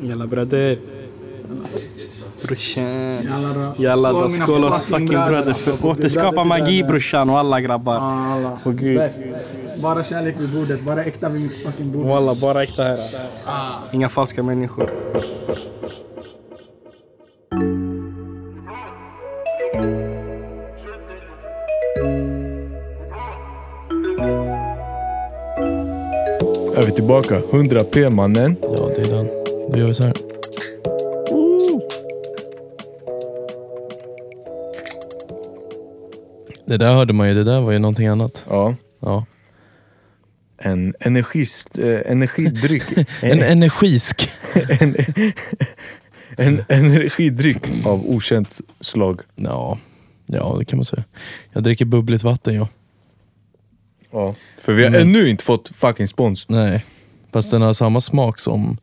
Jalla brother. Brorsan. Jalla då. Jalla Skål, då. mina Skål oss fucking fucking brother. bröder. För återskapa magi brorsan och alla grabbar. Alla. Åh gud. Bäst. Bara kärlek vid bordet, bara äkta vid mitt fucking bord. Walla, bara äkta här. Ah. Inga falska människor. Är vi tillbaka? 100p mannen. Ja, det är den. Då gör vi så här. Det där hörde man ju. Det där var ju någonting annat. Ja. Ja. En energist, eh, energidryck. En en, energisk. en, en energidryck av okänt slag. Ja. ja, det kan man säga. Jag dricker bubbligt vatten jag. Ja. För vi har Mm. ännu inte fått fucking spons. Nej, fast den har samma smak som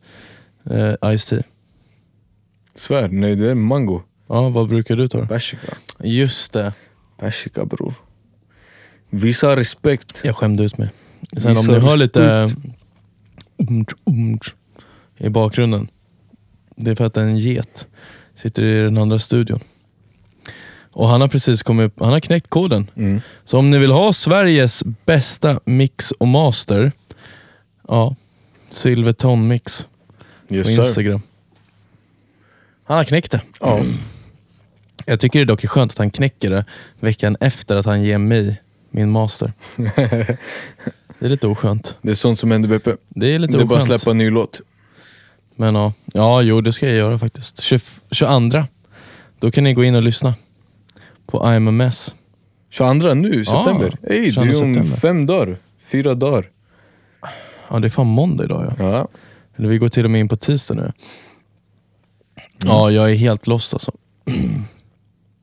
eh, Ice Tea. Svär, nej det är mango. Ja, vad brukar du ta? Persika. Just det. Persika bror. Visa respekt. Jag skämde ut mig. Sen om Visa ni hör lite respekt. umtsch, umtsch i bakgrunden. Det är för att en get sitter i den andra studion. Och han har precis kommit upp, han har knäckt koden. Mm. Så om ni vill ha Sveriges bästa mix och master, ja, Silverton mix Yes, på sir. Instagram. Han har knäckt det. Ja. Jag tycker det dock är skönt att han knäcker det veckan efter att han ger mig min master. Det är lite oskönt. Det är sånt som händer Beppe. Det är lite Det är bara oskönt. att släppa en ny låt. Men ja. ja, jo det ska jag göra faktiskt. 20, 22. Då kan ni gå in och lyssna på IMMS. 22 nu, Ja, september. Ey, det 22 är ju om Ah, september. fem dagar. Fyra dagar. Ja, det är fan måndag idag ja. Ja. Eller vi går till och med in på tisdag Mm. nu. Ja, jag är helt lost alltså.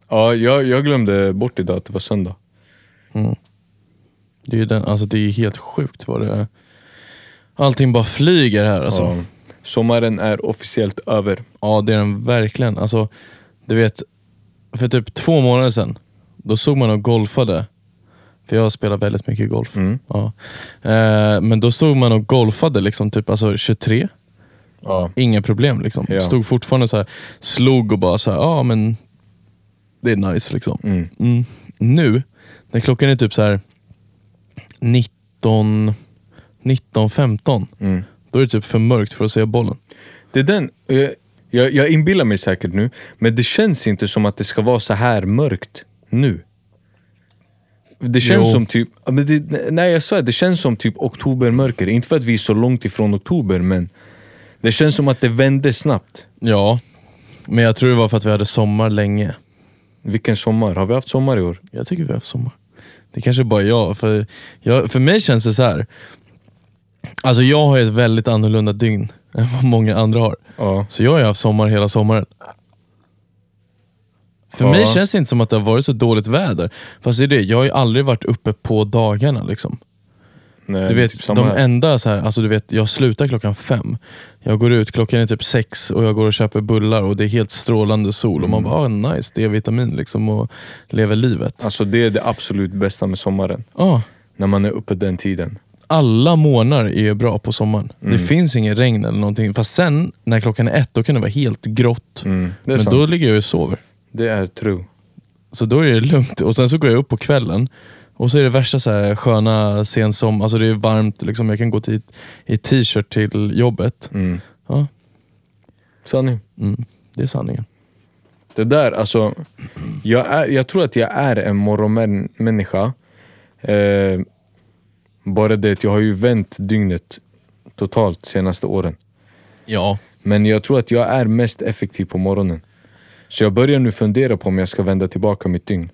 Ja, jag, jag glömde bort idag att det var söndag. Det är ju den, alltså, det är ju helt sjukt vad det är. Allting bara flyger här alltså. Ja. Sommaren är officiellt över. Ja, det är den verkligen. Alltså, du vet, för typ två månader sedan, då såg man och golfade. För jag spelar väldigt mycket golf. Mm. Ja. Eh, men då såg man och golfade liksom typ alltså 23. Ja. Inga problem. liksom Ja. Stod fortfarande så här, slog och bara så här, ja men det är nice liksom. Mm. Mm. Nu, när klockan är typ så här 19, 19.15, Mm. då är det typ för mörkt för att se bollen. Det är den, eh, jag, jag inbillar mig säkert nu, men det känns inte som att det ska vara så här mörkt nu. Det känns Jo. som typ, ja, men det, nej jag svär, det känns som typ oktobermörker. Inte för att vi är så långt ifrån oktober, men det känns som att det vände snabbt. Ja, men jag tror det var för att vi hade sommar länge. Vilken sommar, har vi haft sommar i år? Jag tycker vi har haft sommar. Det kanske är bara jag. För, jag, för mig känns det så här. Alltså jag har ju ett väldigt annorlunda dygn än vad många andra har. Ja. Så jag har ju haft sommar hela sommaren. För Ja. mig känns det inte som att det har varit så dåligt väder. Fast det är det, jag har ju aldrig varit uppe på dagarna. Liksom. Nej, Du vet, typ samma de här. enda så här, alltså du vet, jag slutar klockan fem. Jag går ut, klockan är typ sex och jag går och köper bullar och det är helt strålande sol. Och man Mm. bara, ah, nice, D-vitamin liksom och lever livet. Alltså det är det absolut bästa med sommaren. Ah, När man är uppe den tiden. alla månader är bra på sommaren. Det Mm. finns inget regn eller någonting. Fast sen när klockan är ett, då kan det vara helt grått. Mm, det är Men sant. då ligger jag och sover. Det är true. Så då är det lugnt. Och sen så går jag upp på kvällen och så är det värsta så här sköna sensom, alltså det är varmt, liksom. jag kan gå till, i t-shirt till jobbet. Mm. Ja, Sanning. mm. Det är sanningen. Det där, alltså. Jag, är, jag tror att jag är en morgonmänniska. Eh, bara det att jag har ju vänt dygnet totalt senaste åren. Ja, Men jag tror att jag är mest effektiv på morgonen. Så jag börjar nu fundera på om jag ska vända tillbaka mitt dygn.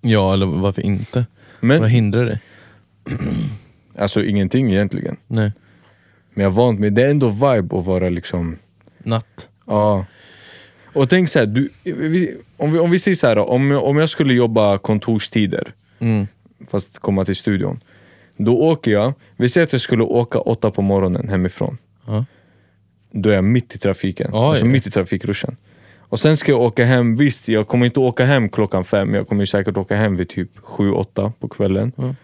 ja eller varför inte? Men- Vad hindrar det? Alltså ingenting egentligen. Nej. Men jag är vant med, det är ändå vibe att vara liksom Natt. Ja. Och tänk så här, du, vi, om, vi, om vi säger så här då, om, jag- om jag skulle jobba kontorstider, Mm. fast komma till studion. Då åker jag, vi säger att jag skulle åka åtta på morgonen hemifrån. Ja. Då är jag mitt i trafiken, Oj. alltså mitt i trafikruschen. Och sen ska jag åka hem, visst jag kommer inte åka hem klockan fem, jag kommer ju säkert åka hem vid typ sju, åtta på kvällen. Ja,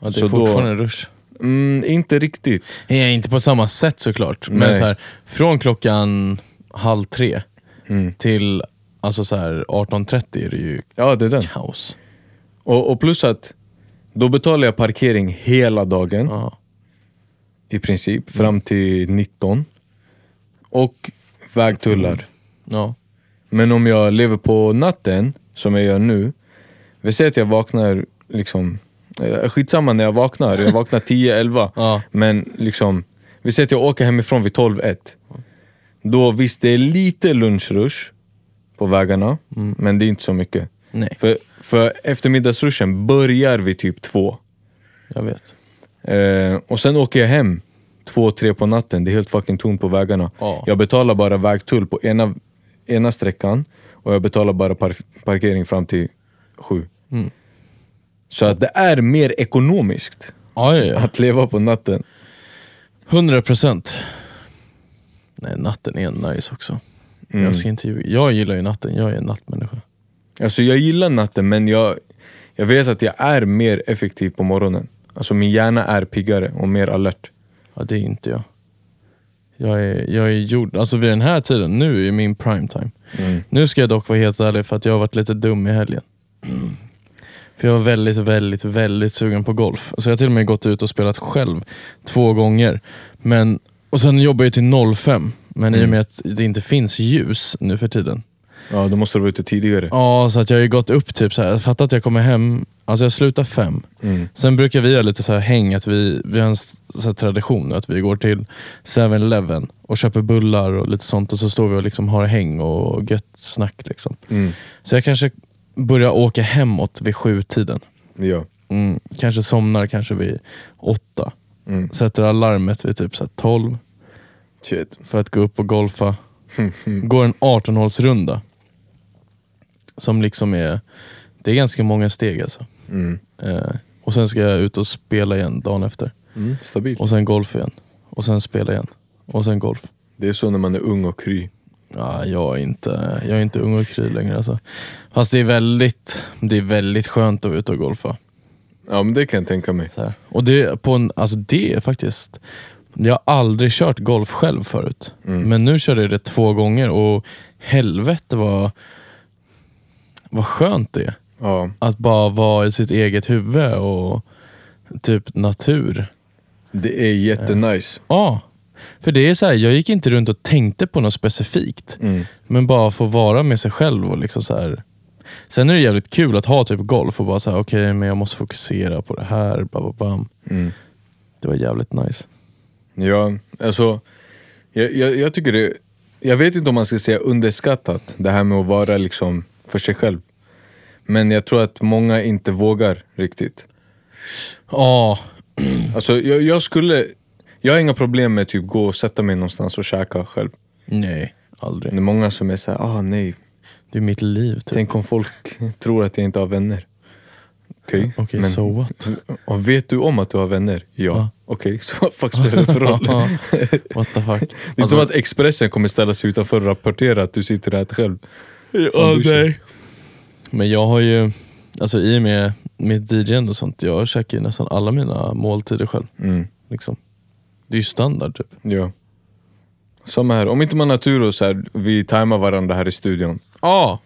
det Så är då- fortfarande en rush. Mm, inte riktigt. Nej, inte på samma sätt såklart. Men Nej. så här, från klockan halv tre Mm. till alltså så här, 18.30 är det ju Ja, det är den. kaos. Och, och plus att då betalar jag parkering hela dagen Ja. i princip, fram till 19. Och vägtullar. Ja. Men om jag lever på natten, som jag gör nu. Vi säger att jag vaknar liksom... eh, Skitsamma när jag vaknar, jag vaknar 10-11. Ja. Men liksom, vi säger att jag åker hemifrån vid 12-1. Då visst, det är lite lunchrush på vägarna, men det är inte så mycket. Mm. Nej, För, för eftermiddagsruschen börjar vid typ två. jag vet. Eh, och sen åker jag hem två, tre på natten. Det är helt fucking tomt på vägarna. Ja. Jag betalar bara vägtull på ena, ena sträckan och jag betalar bara par, parkering fram till sju. Mm. Så att det är mer ekonomiskt Ja, ja, ja. att leva på natten. 100 procent. Nej, natten är nice också. Mm. Jag ska inte ljuga. Jag gillar ju natten, jag är en nattmänniska. Alltså jag gillar natten men jag, jag vet att jag är mer effektiv på morgonen. Alltså min hjärna är piggare och mer alert. Ja, det är inte jag. Jag är, jag är gjord, alltså vid den här tiden, nu är min prime time. Nu ska jag dock vara helt ärlig för att jag har varit lite dum i helgen. För jag var väldigt, väldigt, väldigt sugen på golf. Så jag har till och med gått ut och spelat själv två gånger. Men, och sen jobbar jag till 05, men i och med att det inte finns ljus nu för tiden Ja, då måste du vara ute tidigare. Ja, så att jag har ju gått upp typ så här. Jag fattar att jag kommer hem, alltså jag slutar fem. Sen brukar vi ha lite så här häng, att vi, vi har en s- så här tradition att vi går till 7-Eleven och köper bullar och lite sånt och så står vi och liksom har häng och gött snack. Liksom. Mm. Så jag kanske börjar åka hemåt vid sjutiden. Ja. Mm, kanske somnar kanske vid åtta. Mm. Sätter alarmet vid typ så här 12 Shit. för att gå upp och golfa. Går en 18-hålsrunda. Som liksom är... Det är ganska många steg alltså. Mm. Eh, och sen ska jag ut och spela igen dagen efter. Mm. Stabilt. Och sen golf igen. Och sen spela igen. Och sen golf. Det är så när man är ung och kry. Ja, jag, är inte, jag är inte ung och kry längre alltså. Fast det är väldigt, det är väldigt skönt att vara ute och golfa. Ja men det kan jag tänka mig. Så här. Och det, på en, alltså det är faktiskt... Jag har aldrig kört golf själv förut. Men nu körde jag det två gånger och helvete vad, vad skönt det är. Ja. Att bara vara i sitt eget huvud och typ natur. Det är jättenice. Ja, för det är så här, jag gick inte runt och tänkte på något specifikt. Mm. Men bara få vara med sig själv och liksom så här. Sen är det jävligt kul att ha typ golf och bara säga okej men jag måste fokusera på det här. Bam, bam, bam. Mm. Det var jävligt nice. Ja, alltså. Jag, jag, jag tycker det... Jag vet inte om man ska säga underskattat, det här med att vara liksom för sig själv. Men jag tror att många inte vågar riktigt. Ja, Alltså jag, jag skulle... Jag har inga problem med att typ gå och sätta mig någonstans och käka själv. nej, Det aldrig. är många som är såhär, ah nej, Typ." Det är mitt liv typ. tänk om folk tror att jag inte har vänner. Okej, Okej, men so what? och vet du om att du har vänner? Ja. Ja. Okej, så vad fuck spelar det för roll? Ja, what the fuck. Det är Alltså, inte som att Expressen kommer ställa sig utanför och rapportera att du sitter och äter själv. Ja, nej. Men jag har ju, alltså i och med mitt DJande och sånt, jag käkar ju nästan alla mina måltider själv. Mm, Liksom. Det är ju standard typ. ja. Samma här, om inte man har tur och så här, vi tajmar varandra här i studion. Ja.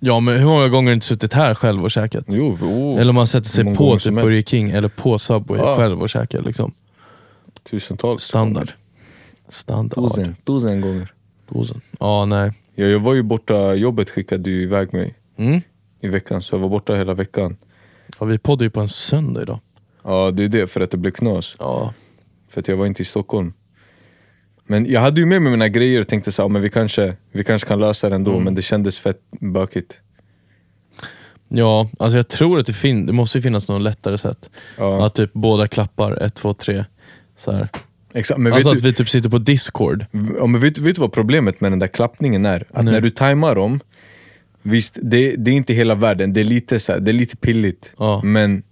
Ja men hur många gånger har du inte suttit här själv och käkat? Jo, oh, Eller man sätter Hur sig många på gånger typ som helst. Burger King eller på Subway Ja. själv och käkar liksom. tusentals. Standard. Standard. Tusen, tusen gånger. Dosen. Ja, nej. Ja, jag var ju borta, jobbet skickade ju iväg mig Mm. i veckan, så jag var borta hela veckan. Ja, vi poddar ju på en söndag idag. Ja, det är det, för att det blev knas. Ja. För att jag var inte i Stockholm. Men jag hade ju med mig mina grejer och tänkte så här, "Ja, men vi kanske, vi kanske kan lösa det ändå, Mm. men det kändes fett bökigt. Ja, alltså jag tror att det, fin- det måste ju finnas något lättare sätt. Ja. Att typ båda klappar, ett, två, tre. Så här. Exakt, men Alltså vet att vi typ sitter på discord. Ja, men vet, vet du vad problemet med den där klappningen är? Att Nej. när du tajmar dem, visst det, det är inte hela världen, det är lite, så här, det är lite pilligt. Ja. Men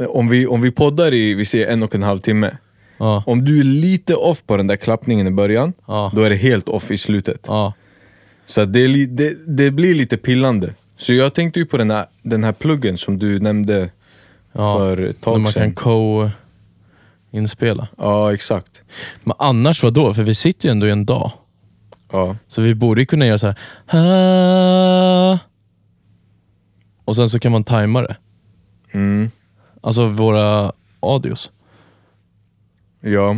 eh, om vi, om vi poddar i vi säger en och en halv timme, Ja. om du är lite off på den där klappningen i början, Ja. då är det helt off i slutet. Ja. Så att det, är li, det, det blir lite pillande. Så jag tänkte ju på den här, den här pluggen som du nämnde Ja, för ett När tag man kan sedan. co-inspela. Ja, exakt. Men annars vad då? För vi sitter ju ändå i en dag. Ja. Så vi borde ju kunna göra så här. "Ah." Och sen så kan man tajma det. Mm. Alltså våra audios. Ja.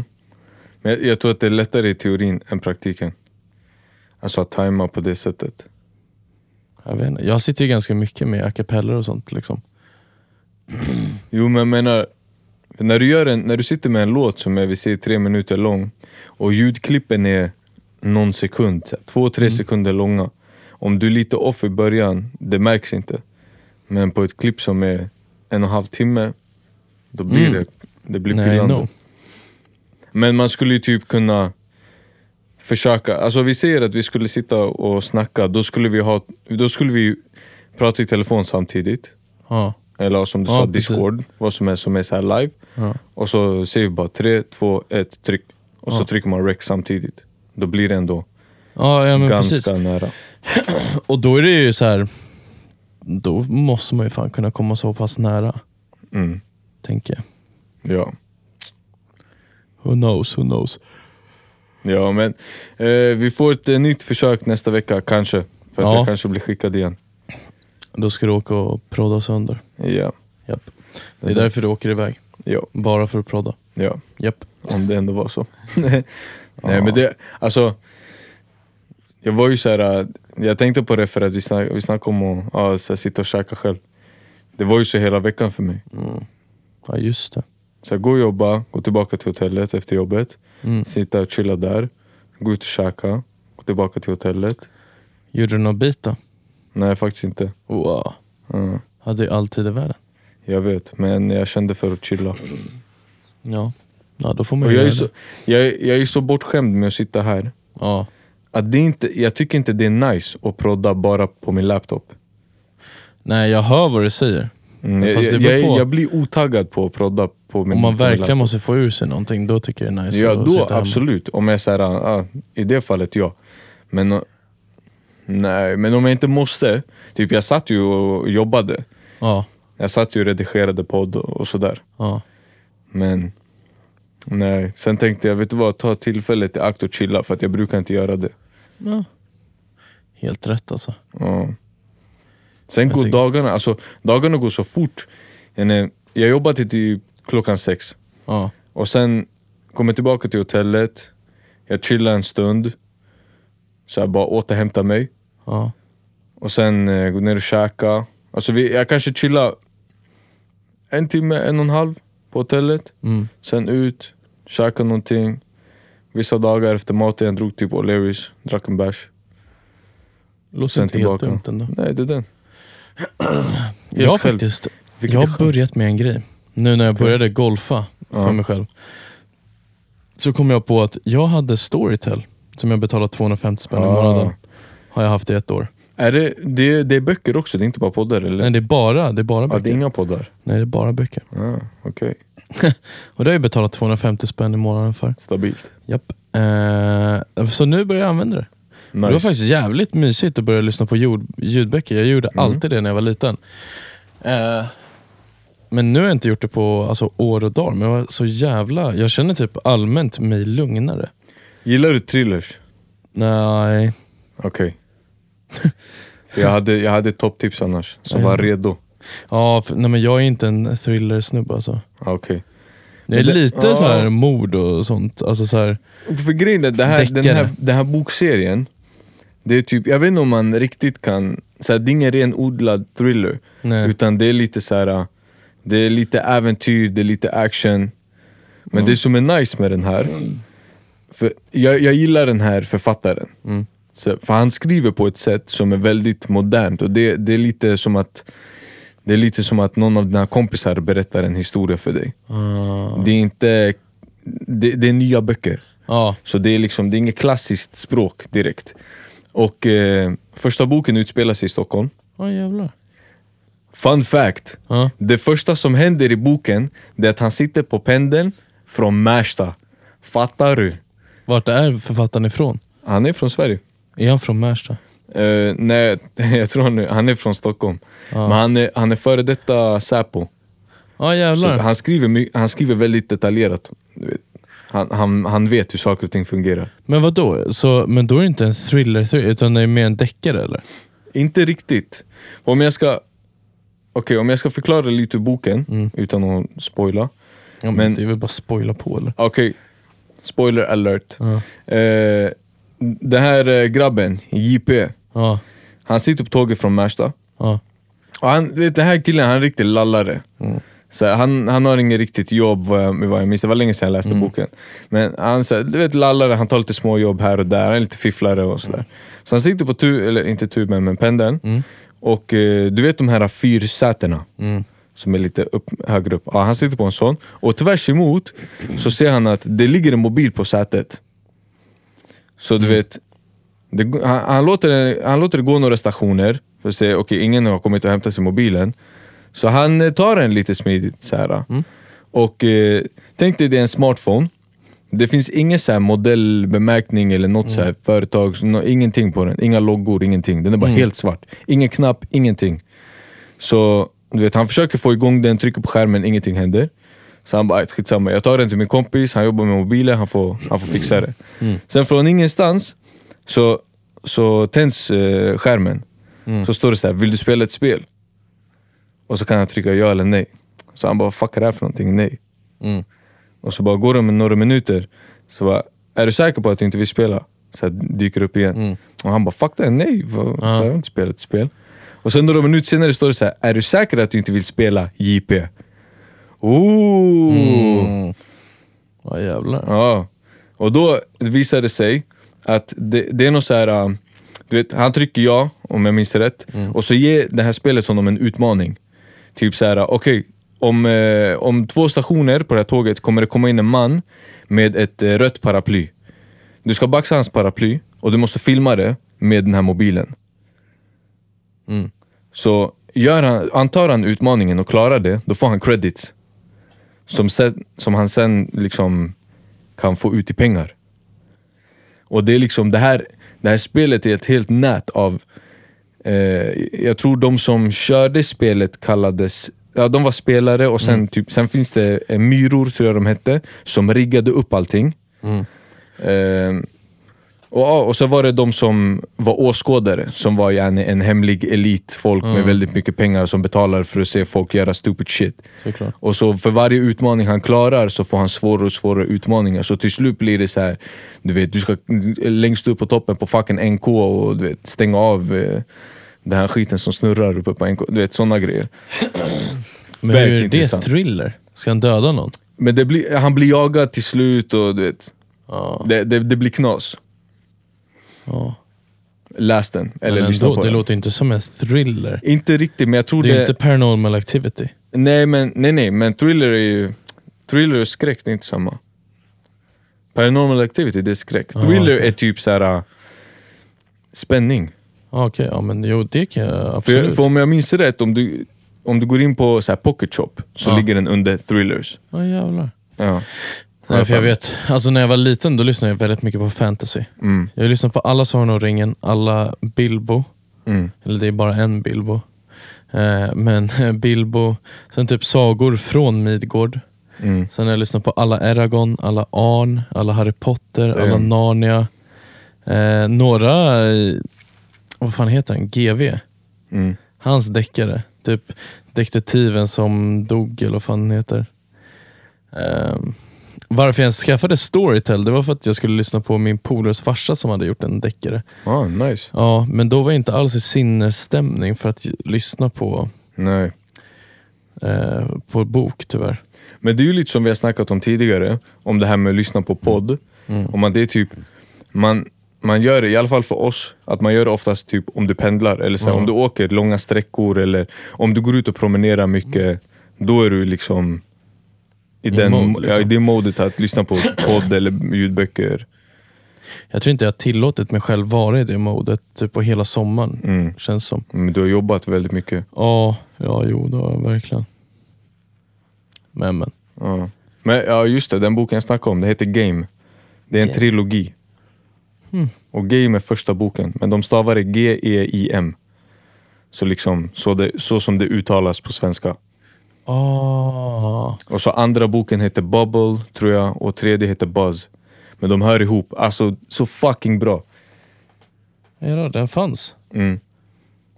Men jag, jag tror att det är lättare i teorin än praktiken. Alltså att tajma på det sättet. Jag, vet inte. jag sitter ju ganska mycket med a cappella och sånt. Liksom. Jo men jag menar, för när du, gör en, när du sitter med en låt som är vi säger tre minuter lång och ljudklippen är någon sekund, så här, två, Mm. tre sekunder långa. Om du är lite off i början, det märks inte. Men på ett klipp som är en och en halv timme, då blir Mm. det, det blir Nej, pillande. no. Men man skulle ju typ kunna försöka, alltså vi säger att vi skulle sitta och snacka, då skulle vi, ha, då skulle vi ju prata i telefon samtidigt. Ja. Eller som du Ja, sa, precis. Discord, vad som är som är så här live. Ja. Och så säger vi bara 3, 2, 1, tryck. Och så trycker man rec samtidigt. Då blir det ändå Ja, ja, men ganska precis. nära. Och då är det ju så här. Då måste man ju fan kunna komma så pass nära. Mm. Tänker jag. Ja. Who knows, who knows. ja, men eh, vi får ett eh, nytt försök nästa vecka, kanske. För att Ja. jag kanske blir skickad igen. Då ska du åka och prodda sönder. Ja, Japp. Det är Mm. därför du åker iväg. ja, Bara för att prodda. ja. Japp. Om det ändå var så. Nej men det, alltså. Jag var ju såhär, äh, jag tänkte på det för att vi, snack, vi snackade om att ja, så här, sitta och käka själv. Det var ju så hela veckan för mig. Ja, just det. Så jag går och jobbar, går tillbaka till hotellet efter jobbet, Mm. sitta och chilla där, gå ut och käka, gå tillbaka till hotellet. Gjorde du någon bit då? Nej faktiskt inte. Wow. Ja, Hade ju alltid i världen. jag vet, men jag kände för att chilla. Ja. Ja, då får man Och ju jag, är göra så, det. jag, är- jag är så bortskämd med att sitta här. Ja. Att det är inte, jag tycker inte det är nice att prodda bara på min laptop. Nej, jag hör vad du säger. Mm, Fast det jag, beror jag, på. jag blir otaggad på att prodda på min Om man på min verkligen laptop. måste få ur sig någonting, då tycker jag det är nice Ja att då sitta hemma. absolut, om jag är såhär, ah, i det fallet ja Men eh, nej, men om jag inte måste, typ jag satt ju och jobbade Ja, Jag satt ju och redigerade podd och och sådär ja. Men nej, sen tänkte jag vet du vad, ta tillfället i akt och chilla för att jag brukar inte göra det ja. Helt rätt alltså. Ja. Ah. Sen Jag går tycker- dagarna, alltså dagarna går så fort Jag menar, Jag jobbar till typ klockan sex Ja. Och sen kommer jag tillbaka till hotellet, jag chillar en stund, så jag bara återhämtar mig. Ja. Och sen eh, går ner och käkar. Alltså vi, jag kanske chillar en timme, en och en halv på hotellet. Mm. Sen ut, käkar någonting. Vissa dagar efter maten, jag drog typ O'Learys, drack en bärs. Låter Sen inte tillbaka. helt dumt ändå. Nej, det är den. Jag har själv. faktiskt Vilket jag är har skönt. börjat med en grej. Nu när jag började golfa för Ja. mig själv. Så kom jag på att jag hade Storytel som jag betalade 250 spänn i Ah. månaden. Har jag haft i ett år. Är det, det, det är böcker också, det är inte bara poddar eller? Nej det är bara, det är bara ja, böcker. det är inga poddar. Nej det är bara böcker. Ah, Okej, Och det har jag betalat 250 spänn i månaden för. stabilt. Japp. Eh, så nu börjar jag använda det. Nice. Det var faktiskt jävligt mysigt att börja lyssna på ljud, ljudböcker. Jag Mm. gjorde alltid det när jag var liten. Eh, men nu har jag inte gjort det på alltså, år och dag. Men jag var så jävla... Jag känner typ allmänt mig lugnare. Gillar du thrillers? Nej. Okej. För jag hade, jag hade ett topptips annars, som var redo. Ja, för, nej men jag är inte en thriller-snubbe alltså. Ah, Okej. Det är Men det- lite så här ja. mord och sånt. Alltså så här, För grejen är, det här, den, här, Deckare. den här bokserien, det är typ, jag vet inte om man riktigt kan, så här, det är ingen renodlad thriller. nej. Utan det är lite så här. det är lite äventyr, det är lite action. Men Mm. det som är nice med den här, för jag, jag gillar den här författaren. Mm. Så, för han skriver på ett sätt som är väldigt modernt och det, det är lite som att det är lite som att någon av dina kompisar berättar en historia för dig. Ah. Det är inte... Det, det är nya böcker. ja, Så det är liksom, det är inget klassiskt språk direkt. Och eh, första boken utspelar sig i Stockholm. oh, jävlar. Fun fact! Ja. Det första som händer i boken, det är att han sitter på pendeln från Märsta. Fattar du? Vart är författaren ifrån? Han är från Sverige. Är han från Märsta? Eh, nej, jag tror han, är- han är från Stockholm. Men han är, han är före detta Säpo. Ja Så jävlar. han, skriver, my- han skriver väldigt detaljerat. Du vet. Han, han, han vet hur saker och ting fungerar. Men vad då? Så, men då är det inte en thriller, thriller utan det är mer en deckare eller? Inte riktigt. Om jag ska Okej, om jag ska förklara lite ur boken, utan att spoila. Ja, men, Men- det är väl bara spoila på eller? Okej, spoiler alert. Ja. Eh, den här eh, grabben, JP, Ja. han sitter på tåget från Märsta. Ja. Och han, du vet, den här killen, han är riktigt lallare. Så här, han, han har inget riktigt jobb vad jag, vad jag minns, det var länge sedan jag läste boken. Men han så här, du vet lallare, han tar lite små jobb här och där, han är lite fifflare och sådär. Så han sitter på tu, eller inte tuben, men pendeln. Och eh, du vet de här fyrsätena? Som är lite upp, högre upp. Ja, han sitter på en sån. Och tvärs emot så ser han att det ligger en mobil på sätet. Så du vet, det, han, han, låter, det- han låter det gå några stationer för att se, okej ingen har kommit och hämtat sig mobilen. Så han eh, tar den lite smidigt så här. eh. Och eh, tänk dig det är en smartphone. Det finns ingen så här modellbemärkning eller något så här företag, nå- ingenting på den. Inga loggor, ingenting. Den är bara helt svart. Ingen knapp, ingenting. Så du vet, han försöker få igång den, trycker på skärmen, ingenting händer. Så han bara, "Aj, skitsamma, jag tar den till min kompis, han jobbar med mobilen, han får, han får fixa det. Sen från ingenstans så, så tänds eh, skärmen. Så står det så här, vill du spela ett spel? Och så kan han trycka ja eller nej. Så han bara, fuck är det här för någonting? Nej. Mm. Och så bara går det med några minuter, så bara, är du säker på att du inte vill spela? Så här, dyker upp igen. Och han bara, fuck det, här, nej. Vad, så här, jag har inte spelat ett spel. Och sen några minuter senare står det så här, är du säker att du inte vill spela JP? Ooh. Ja jävlar. Ja. Och då visar det sig att det, det är något så här... um, Du vet, han trycker ja, om jag minns rätt, och så ger det här spelet honom en utmaning. Typ så här, okej, om, eh, om två stationer på det här tåget kommer det komma in en man med ett eh, rött paraply. Du ska baxa hans paraply och du måste filma det med den här mobilen. Så gör han, antar han utmaningen och klarar det, då får han credits. Som, sen, som han sen liksom kan få ut i pengar. Och det är liksom det här, det här spelet är ett helt nät av eh, Jag tror de som körde spelet kallades Ja, de var spelare och sen, typ, sen finns det eh, myror, tror jag de hette, som riggade upp allting. Eh, och, ja, och så var det de som var åskådare, som var gärna en hemlig elit, folk med väldigt mycket pengar som betalar för att se folk göra stupid shit. Såklart. Och så för varje utmaning han klarar så får han svårare och svårare utmaningar. Så till slut blir det så här, du vet, du ska längst upp på toppen på fucking NK och du vet, stänga av eh, den här skiten som snurrar uppe på NK. Du vet, sådana grejer. Men hur Väldigt är det intressant. thriller? Ska han döda någon? Men det blir, han blir jagad till slut och du vet, Ja. det, det, det blir knas. ja. Läs den, eller Men lyssna ändå, på det den. låter inte som en thriller. Inte riktigt, men jag tror Det det... är ju inte paranormal activity. Nej, men, nej, nej, men thriller är ju... Thriller och skräck, det är inte samma. Paranormal activity, det är skräck. Thriller är typ så här äh, spänning. Ja, Okej, ja, men jo det kan jag För, absolut. för om jag minns rätt, om du, om du går in på så här pocket shop så Ja. ligger den under thrillers. Ja jävlar. Ja. Nej, för jag vet, alltså när jag var liten då lyssnade jag väldigt mycket på fantasy. Mm. Jag lyssnade på alla Sagan om ringen, alla Bilbo. Mm. Eller det är bara en Bilbo. Eh, men Bilbo, sen typ sagor från Midgård. Mm. Sen har jag lyssnat på alla Eragon, alla Arn, alla Harry Potter, Damn. alla Narnia. Eh, några, eh, vad fan heter han, GV? Mm. Hans deckare. Typ detektiven som dog eller vad fan han heter. Ehm, varför jag ens skaffade Storytel, det var för att jag skulle lyssna på min polares farsa som hade gjort en deckare. Ah, nice. Ja, men då var jag inte alls i sinnesstämning för att j- lyssna på, Nej. eh, på bok tyvärr. Men det är ju lite som vi har snackat om tidigare, om det här med att lyssna på podd. Mm. Om att det är typ, man, man gör det, i alla fall för oss, att man gör det oftast typ om du pendlar, eller så här, Mm. om du åker långa sträckor, eller om du går ut och promenerar mycket, då är du liksom i, den, Mm. mode, ja, i liksom. det modet att lyssna på podd eller ljudböcker. Jag tror inte jag har tillåtit mig själv vara i det modet typ på hela sommaren, Mm. känns som. Men du har jobbat väldigt mycket. Ja, ja jo det har jag verkligen. Men men. Ja. Men ja, just det, den boken jag snackade om, det heter Game. Det är en Game. Hmm. trilogi. Och Game är första boken, men de stavar E det G-E-I-M. Så liksom, så, det, så som det uttalas på svenska. Ah. Och så andra boken heter Bubble, tror jag, och tredje heter Buzz. Men de hör ihop. Alltså, så fucking bra. Ja, den fanns. Mm.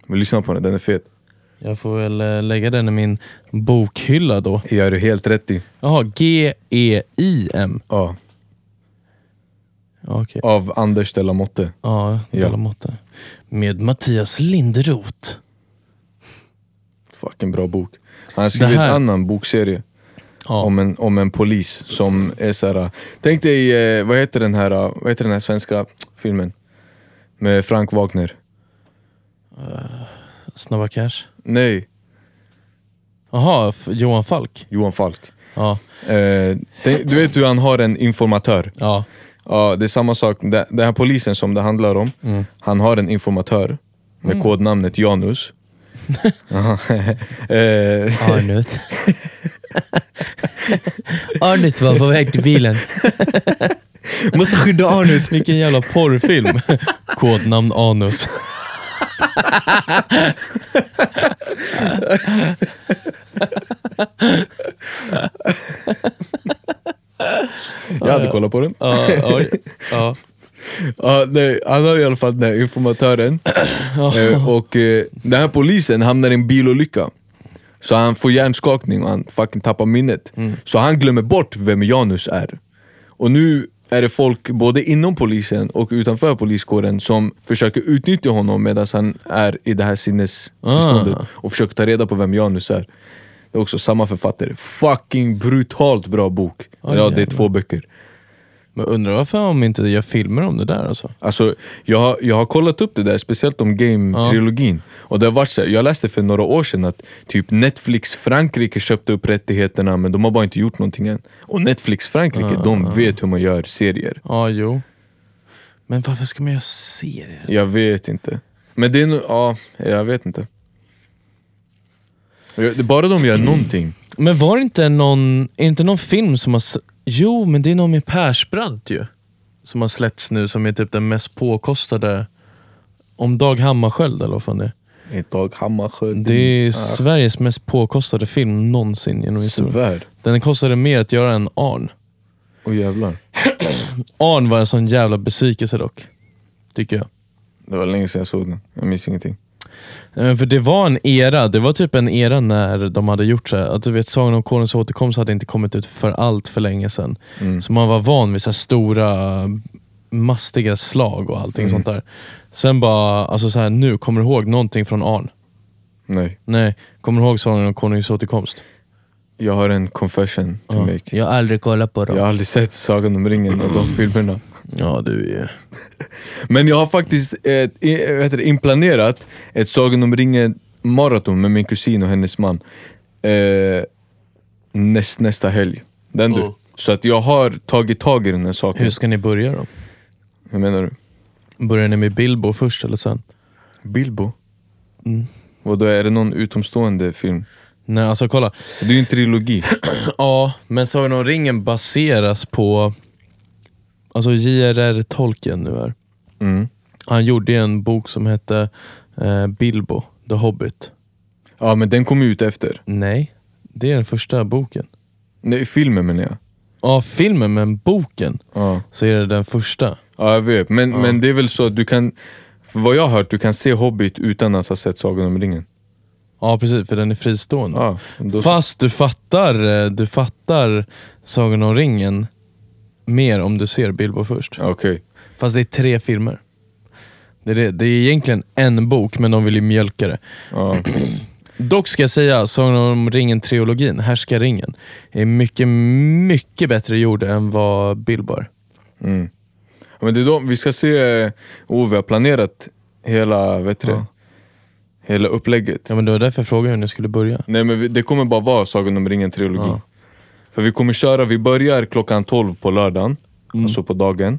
Men lyssna på den, den är fet. Jag får väl eh, lägga den i min bokhylla då. Gör du helt rätt i. Jaha, E G-E-I-M. Ja. Ja, Okej. Av Anders de la Motte. Ja, Ja. ja. Måtte. Med Mattias Linderoth. Fucking bra bok. Han har skrivit Det här- en annan bokserie Ja. om, en, om en polis som är såhär... Tänk dig, eh, vad heter den här, eh, vad heter den här svenska filmen? Med Frank Wagner. Snabba Cash. Nej, Jaha, F- Johan Falk. Johan Falk. Ja, Eh, tänk, du vet hur han har en informatör. ja, Ja, det är samma sak. Det- Den här polisen som det handlar om, han har en informatör med kodnamnet Janus. Ja, eh, Arnut. Arnut var på väg till bilen. Måste skydda Arnut! Vilken jävla porrfilm. Kodnamn Anus. Jag hade kollat på den. Ja, oj. Ja. Ja, nej, han har i alla fall den här informatören. Eh, och eh, den här polisen hamnar i en bilolycka. Så han får hjärnskakning och han fucking tappar minnet. Mm. Så han glömmer bort vem Janus är. Och nu är det folk både inom polisen och utanför poliskåren som försöker utnyttja honom medan han är i det här sinnestillståndet. Ah. Och försöker ta reda på vem Janus är. Det är också samma författare. Fucking brutalt bra bok. Oj, ja, det är jävlar. två böcker. Men undrar varför de inte gör filmer om det där alltså? Alltså, jag, har- jag har kollat upp det där, speciellt om game-trilogin. Och det har varit så här, jag läste för några år sedan att typ Netflix Frankrike köpte upp rättigheterna men de har bara inte gjort någonting än. Och Netflix Frankrike, de vet hur man gör serier. Ja, jo. Men varför ska man göra serier? Jag vet inte. Men det är nog, ja, jag vet inte. Jag- det- Bara de gör någonting. Men var det inte någon, är det inte någon film som har... s- Jo, men det är någon med Persbrandt ju. Som har släppts nu, som är typ den mest påkostade. Om Dag Hammarskjöld eller vad fan det är. Dag Hammarskjöld. Det är Sveriges mest påkostade film någonsin genom historien. Svärd. Den kostade mer att göra än Arn. Åh jävlar. Arn var en sån jävla besvikelse dock. Tycker jag. Det var länge sedan jag såg den. Jag minns ingenting. Eh, För det var en era, det var typ en era när de hade gjort så här, att du vet Sagan om konungens återkomst hade inte kommit ut för allt för länge sedan. Så man var van vid så här stora mastiga slag och allting sånt där. Sen bara, alltså så här, nu, kommer du ihåg någonting från Arn? Nej. Nej, kommer du ihåg Sagan om konungens återkomst? Jag har en confession to make. Jag har aldrig kollat på Jag har aldrig sett Sagan om ringen och de filmerna. Ja, du är... Men jag har faktiskt eh, i- vad heter det, inplanerat ett Sagan om ringen maraton med min kusin och hennes man. Eh, näst, nästa helg. Den du. Mm. Så att jag har tagit tag i den här saken. Hur ska ni börja då? Hur menar du? Börjar ni med Bilbo först eller sen? Bilbo? Vadå, är det någon utomstående film? Nej, alltså kolla. För det är ju en trilogi. Ja, men Sagan om ringen baseras på alltså J.R.R. Tolkien nu är. Mm. Han gjorde ju en bok som hette eh, Bilbo, The Hobbit. Ja men den kom ju ut efter. Nej, det är den första boken. Nej, filmen menar jag. Ja, filmen, men boken Ja. så är det den första. Ja jag vet, men, men det är väl så att du kan, för vad jag har hört, du kan se Hobbit utan att ha sett Sagan om ringen. Ja, precis, för den är fristående. Ja, då, Fast du fattar, eh, du fattar Sagan om ringen mer om du ser Bilbo först. Okej, Fast det är tre filmer. Det är, det, det är egentligen en bok, men de vill ju mjölka det. ja. Dock ska jag säga, Sagan om ringen-trilogin, Härskaringen, är mycket, mycket bättre gjord än vad Bilbo är. Ja, Men det är då, vi ska se, eh, oh, vi har planerat hela, vet du det? Ja. hela upplägget. Ja, men det var därför jag frågade hur ni skulle börja. Nej men vi, det kommer bara vara Sagan om ringen-trilogi. Ja. För vi kommer köra, vi börjar klockan 12 på lördagen, Mm. alltså på dagen.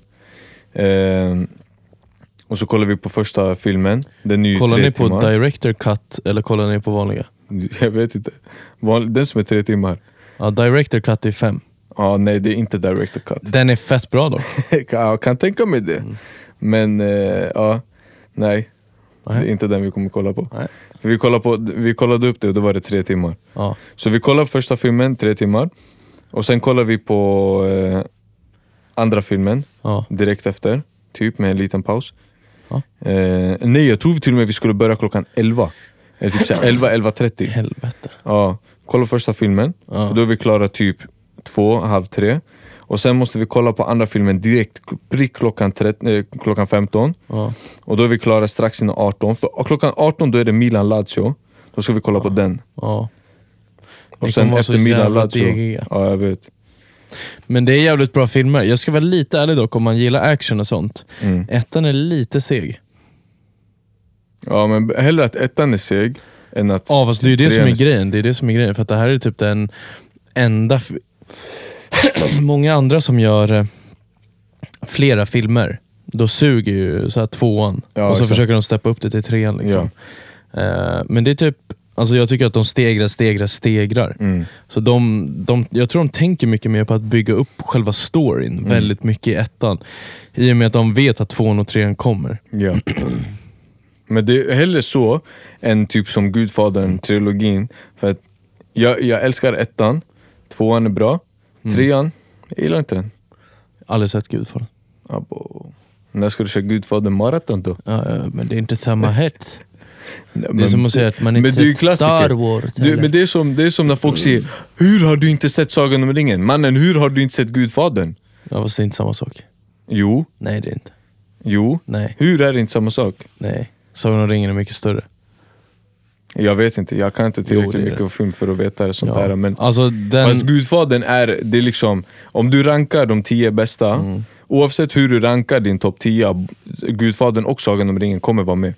Ehm, och så kollar vi på första filmen, den är ju Kollar tre ni på timmar. director cut eller kollar ni på vanliga? Jag vet inte. Van- Den som är tre timmar. Ja, director cut är fem. Ja, nej det är inte director cut. Den är fett bra dock. Kan- jag kan tänka mig Mm. det. Men eh, ja, nej. Nej. Det är inte den vi kommer kolla på. Nej. Vi kollade, på, vi kollade upp det och då var det tre timmar. Ja. Så vi kollade första filmen, tre timmar. Och sen kollade vi på eh, andra filmen Ja. direkt efter, typ med en liten paus. Ja. Eh, nej, jag tror till och med vi skulle börja klockan 11. Eh, typ såhär 11, 11.30. Helvete. Ja, kolla första filmen, Ja. för då är vi klara typ två, halv tre. Och sen måste vi kolla på andra filmen direkt, prick klockan, trett- eh, klockan 15. Ja. Och då är vi klara strax innan 18. För och klockan 18 då är det Milan-Lazio. Då ska vi kolla på den. Ja. Och Ni kommer sen vara så efter jävla Milan-Lazio. degiga. Ja, jag vet. Men det är jävligt bra filmer. Jag ska vara lite ärlig dock, om man gillar action och sånt. Ettan är lite seg. Ja, men hellre att ettan är seg än att... Ja fast det är ju det som trean är grejen. Det är det som är grejen. För att det här är typ den enda... f- Många andra som gör eh, flera filmer, då suger ju så här tvåan. Ja, och så exakt. försöker de steppa upp det till trean. Liksom. Eh, men det är typ... Alltså jag tycker att de stegrar, stegrar, stegrar. Mm. Så de, de, jag tror de tänker mycket mer på att bygga upp själva storyn Mm. väldigt mycket i ettan. I och med att de vet att tvåan och trean kommer. Ja. Men det är hellre så än typ som Gudfadern-trilogin. För att jag, jag älskar ettan, tvåan är bra, Mm. trean, jag gillar inte den. Aldrig sett Gudfadern. Abo. När ska du köra Gudfadern-maraton då? Ja, ja, men det är inte samma hett. Nej, Det är men- som att säga att man men inte det är ju sett Star klassiker. Wars. Du, eller? men det är, som, det är som när folk säger Hur har du inte sett Sagan om ringen? Mannen, hur har du inte sett Gudfadern? Ja fast det är inte samma sak. Jo, Nej det är inte. jo. Nej, Hur är det inte samma sak? nej. Sagan om ringen är mycket större. Jo, Jag vet inte, jag kan inte tillräckligt det är det. mycket om film för att veta det, sånt där. Men alltså den... Fast Gudfadern är, det är liksom, om du rankar de tio bästa, oavsett hur du rankar din topp 10, Gudfadern och Sagan om ringen kommer vara med.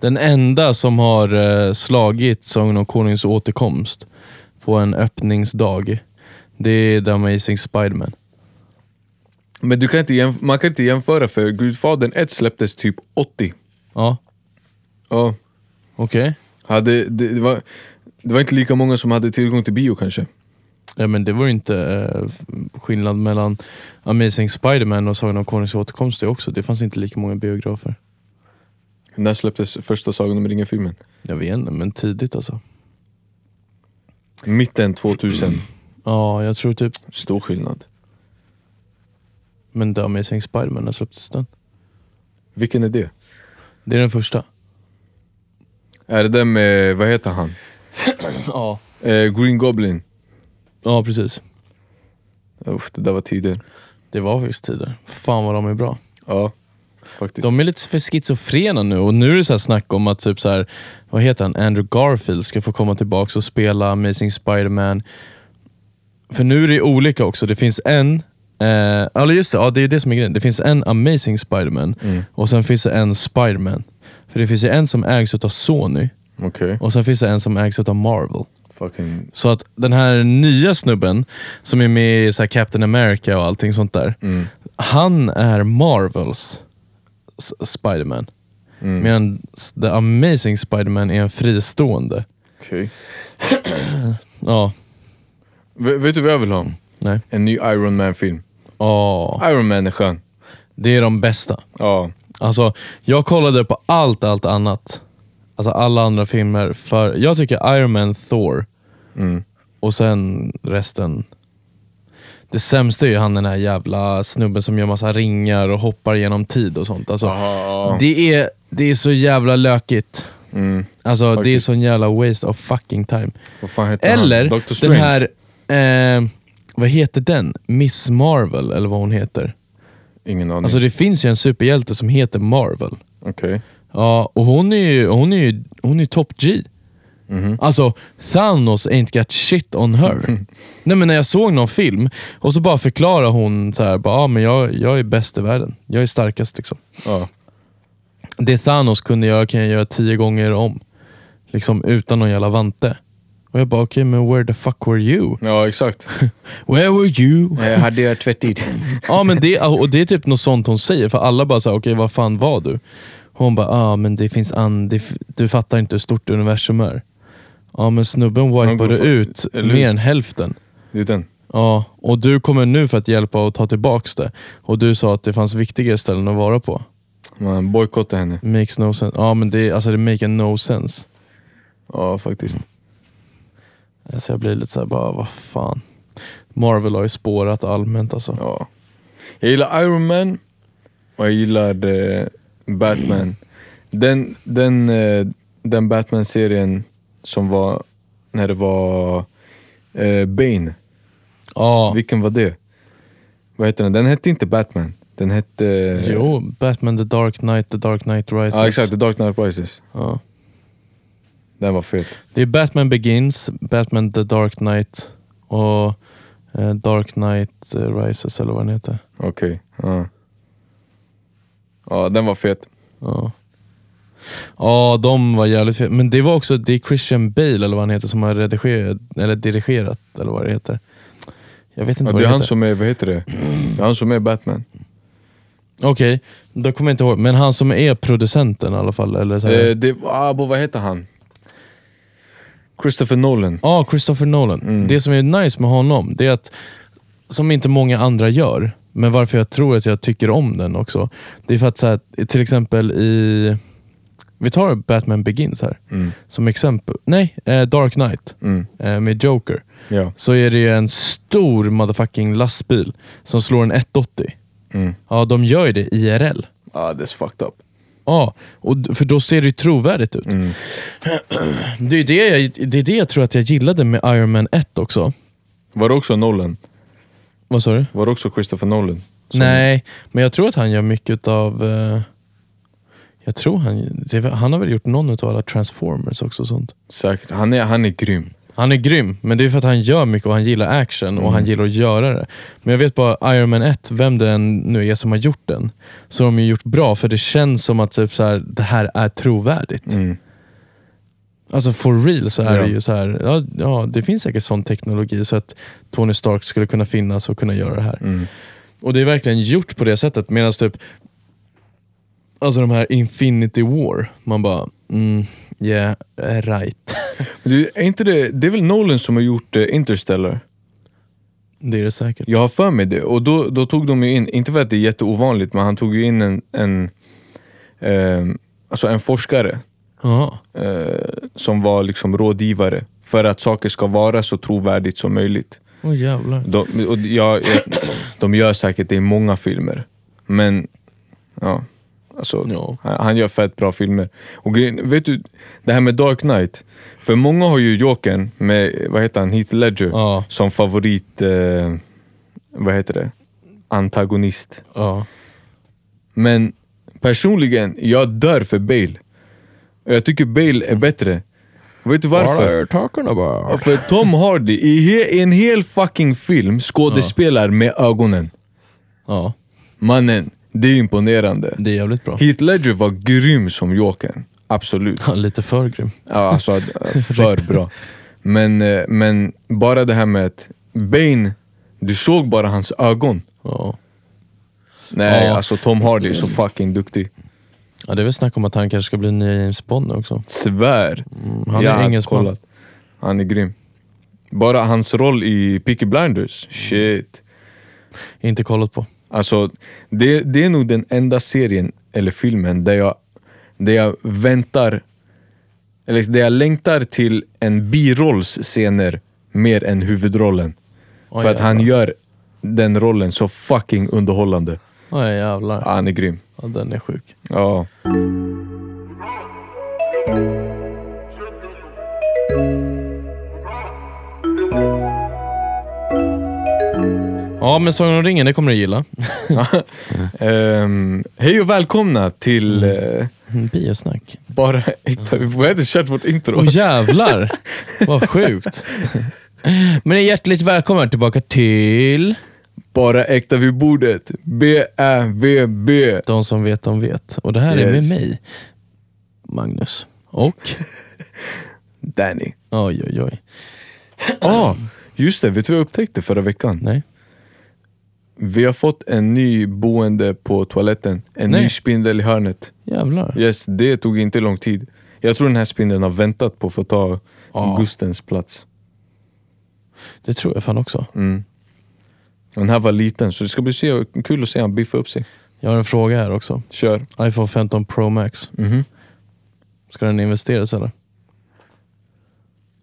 Den enda som har eh, slagit Sagan om Konungens återkomst på en öppningsdag, det är The Amazing Spiderman. Men du kan inte jämf- man kan inte jämföra för Gudfadern 1 släpptes typ 80. Ja, Ja. okej. Hade, det, det, var, det var inte lika många som hade tillgång till bio kanske. Ja, men det var ju inte eh, f- skillnad mellan Amazing Spiderman och Sagan om Konungens återkomst det också. Det fanns inte lika många biografer. När släpptes första Sagan om ringen-filmen? Jag vet inte, men tidigt alltså. Mitten 2000. Ja, jag tror typ, Stor skillnad. men The Amazing Spiderman, när släpptes den? Vilken är det? Det är den första. Är det den med, vad heter han? Ja, Eh, Green Goblin. ja precis. Uff, det där var tider. Det var faktiskt tider. Fan vad de är bra. Ja, faktiskt. De är lite för schizofrena nu och nu är det så här snack om att typ så här, vad heter han, Andrew Garfield ska få komma tillbaka och spela Amazing Spider-Man. För nu är det olika också. Det finns en, eh, eller just det, ja, det är det som är grejen. Det finns en Amazing Spider-Man och sen finns det en Spider-Man. För det finns ju en som ägs av Sony Okej. och sen finns det en som ägs av Marvel. Fucking... Så att den här nya snubben som är med i så här Captain America och allting sånt där. Mm. Han är Marvels S- Spiderman. Mm. Medan s- The Amazing Spiderman är en fristående. Okej. Ja, Ve- Vet du vad jag vill ha? nej. En ny Iron Man-film. Ja, Iron Man är skön. det är de bästa. Ja. Alltså, jag kollade på allt, allt annat. Alltså alla andra filmer. För jag tycker Iron Man, Thor Mm. och sen resten. Det sämsta är ju han den här jävla snubben som gör massa ringar och hoppar genom tid och sånt. Alltså, Aha. det, är, det är så jävla lökigt. Mm. Alltså det är Faktiskt. sån jävla waste of fucking time. Vad fan heter Eller han? Dr. den Strange? här, eh, vad heter den? Miss Marvel eller vad hon heter. Mm. Ingen aning. Alltså det finns ju en superhjälte som heter Marvel. Okej. Ja, och hon är ju, hon är ju, hon är ju top G. Alltså, Thanos ain't got shit on her. Nej men när jag såg någon film och så bara förklarar hon så här, bara, ah, men jag, jag är bäst i världen. Jag är starkast liksom. Ja. Det Thanos kunde göra kan jag göra tio gånger om. Liksom utan någon jävla vante. Och jag bara, okej men where the fuck were you? ja, exakt. Where were you? Jag Eh, hade jag tvättit? ja men det, och det är typ något sånt hon säger, för alla bara såhär, okej vad fan var du? Hon bara, ja ah, men det finns an, det, f- du fattar inte hur stort universum är. Ja men snubben går wipade för- ut eller hur? mer än hälften. Det är den. Ja, och du kommer nu för att hjälpa och ta tillbaks det. Och du sa att det fanns viktigare ställen att vara på. Man bojkottar henne. Makes no sense. Ja men det, alltså det make no sense. Ja, faktiskt. Så jag blir lite såhär bara, vad fan. Marvel har ju spårat allmänt alltså. Ja. Jag gillar Iron Man och jag gillar eh, Batman. Den, den, eh, den Batman-serien som var när det var eh, Bane. Ja. Vilken var det? Vad heter den? Den hette inte Batman. Den hette... Jo, Batman The Dark Knight, The Dark Knight Rises. Eh, Ja, exakt. The Dark Knight Rises. Ja. Den var fet. Det är Batman Begins, Batman The Dark Knight och eh, Dark Knight eh, Rises eller vad den heter. Okej. Ja. ja, den var fet. Ja. ja, de var jävligt fe- Men det var också det är Christian Bale eller vad han heter som har redigerat, eller dirigerat eller vad det heter. Jag vet inte Ja, vad det är det han heter. som är, vad heter det? Det är han som är Batman. Okej, då kommer jag inte ihåg. Men han som är producenten i alla fall. Eller så här. Eh, det, ah, bo, vad heter han? Christopher Nolan. Ja, Christopher Nolan. Mm. Det som är nice med honom, det är att, som inte många andra gör, men varför jag tror att jag tycker om den också, det är för att så här, till exempel i, vi tar Batman Begins här Mm. som exempel. Nej, eh, Dark Knight Mm. eh, med Joker. Ja. Så är det ju en stor motherfucking lastbil som slår en 180. Mm. Ja, de gör ju det IRL. Ah, that's fucked up. Ja, och, d- för då ser det ju trovärdigt ut. Mm. Det är ju det jag, det är det jag tror att jag gillade med Iron Man 1 också. Var det också Nolan? Vad sa du? Var det också Christopher Nolan? Som- Nej, men jag tror att han gör mycket av... jag tror han, det, är väl- han har väl gjort någon av alla Transformers också och sånt. Säkert. Han är, han är grym. Han är grym, men det är för att han gör mycket och han gillar action och han gillar att göra det. Men jag vet bara Iron Man 1, vem det än nu är som har gjort den, så har de ju gjort bra för det känns som att typ så här, det här är trovärdigt. Mm. Alltså for real så är Ja. det ju så här, ja, ja det finns säkert sån teknologi så att Tony Stark skulle kunna finnas och kunna göra det här. Mm. Och det är verkligen gjort på det sättet. Medan typ, alltså de här Infinity War, man bara, mm, yeah, eh, right. Men det, är inte det, det är väl Nolan som har gjort eh, Interstellar? Det är det säkert. Jag har för mig det. Och då, då tog de ju in, inte för att det är jätteovanligt, men han tog ju in en, en, ehm, alltså en forskare Ja, eh, som var liksom rådgivare för att saker ska vara så trovärdigt som möjligt. åh jävlar. De, och jag, jag, de gör säkert det i många filmer, men ja, alltså, Ja. han, han gör fett bra filmer. Och grejen, vet du, det här med Dark Knight, för många har ju Jokern med, vad heter han, Heath Ledger Ja. som favorit, eh, vad heter det, antagonist. Ja. Men personligen, jag dör för Bale. Och jag tycker Bale är bättre. Vet du varför? talking Ja, about? För Tom Hardy i he- i en hel fucking film skådespelar med ögonen. Ja, Mannen, det är imponerande. det är jävligt bra. Heath Ledger var grym som Jokern. Absolut. Ja, Lite för grym. Ja, alltså eh, för bra. Men, eh, men bara det här med att Bane, du såg bara hans ögon. Ja. Nej, Ja. alltså Tom Hardy är så fucking duktig. ja, det är väl snack om att han kanske ska bli nya James Bond nu också. Svär. Mm, han är Jag hade engelsman. kollat. Han är grym. Bara hans roll i Peaky Blinders, shit. Inte kollat på. Alltså, det, det är nog den enda serien eller filmen där jag, där jag väntar, eller där jag längtar till en birollsscener mer än huvudrollen. Oj, För att han jävlar. gör den rollen så fucking underhållande. Oj jävlar. Ja, han är grym. Ja, den är sjuk. Ja. Ja, men Sagan om ringen, det kommer du gilla. Ehm, hej och välkomna till Mm. eh, Biosnack. Bara äkta. Mm. Vi har inte kört vårt intro. Åh jävlar, vad sjukt. Men hjärtligt välkomna tillbaka till Bara äkta vid bordet. B-Ä-V-B. De som vet de vet. Och det här är med Yes. mig, Magnus. Och, Danny. oj oj oj. Ah, just det, vet du vad jag upptäckte förra veckan? Nej. Vi har fått en ny boende på toaletten. En Nej. ny spindel i hörnet. Jävlar. Yes, det tog inte lång tid. Jag tror den här spindeln har väntat på att få ta Ja. Gustens plats. Det tror jag fan också. Mm. Den här var liten, så det ska bli se, kul att se han biffa upp sig. Jag har en fråga här också. Kör. iPhone 15 Pro Max. Mhm. Ska den investeras eller?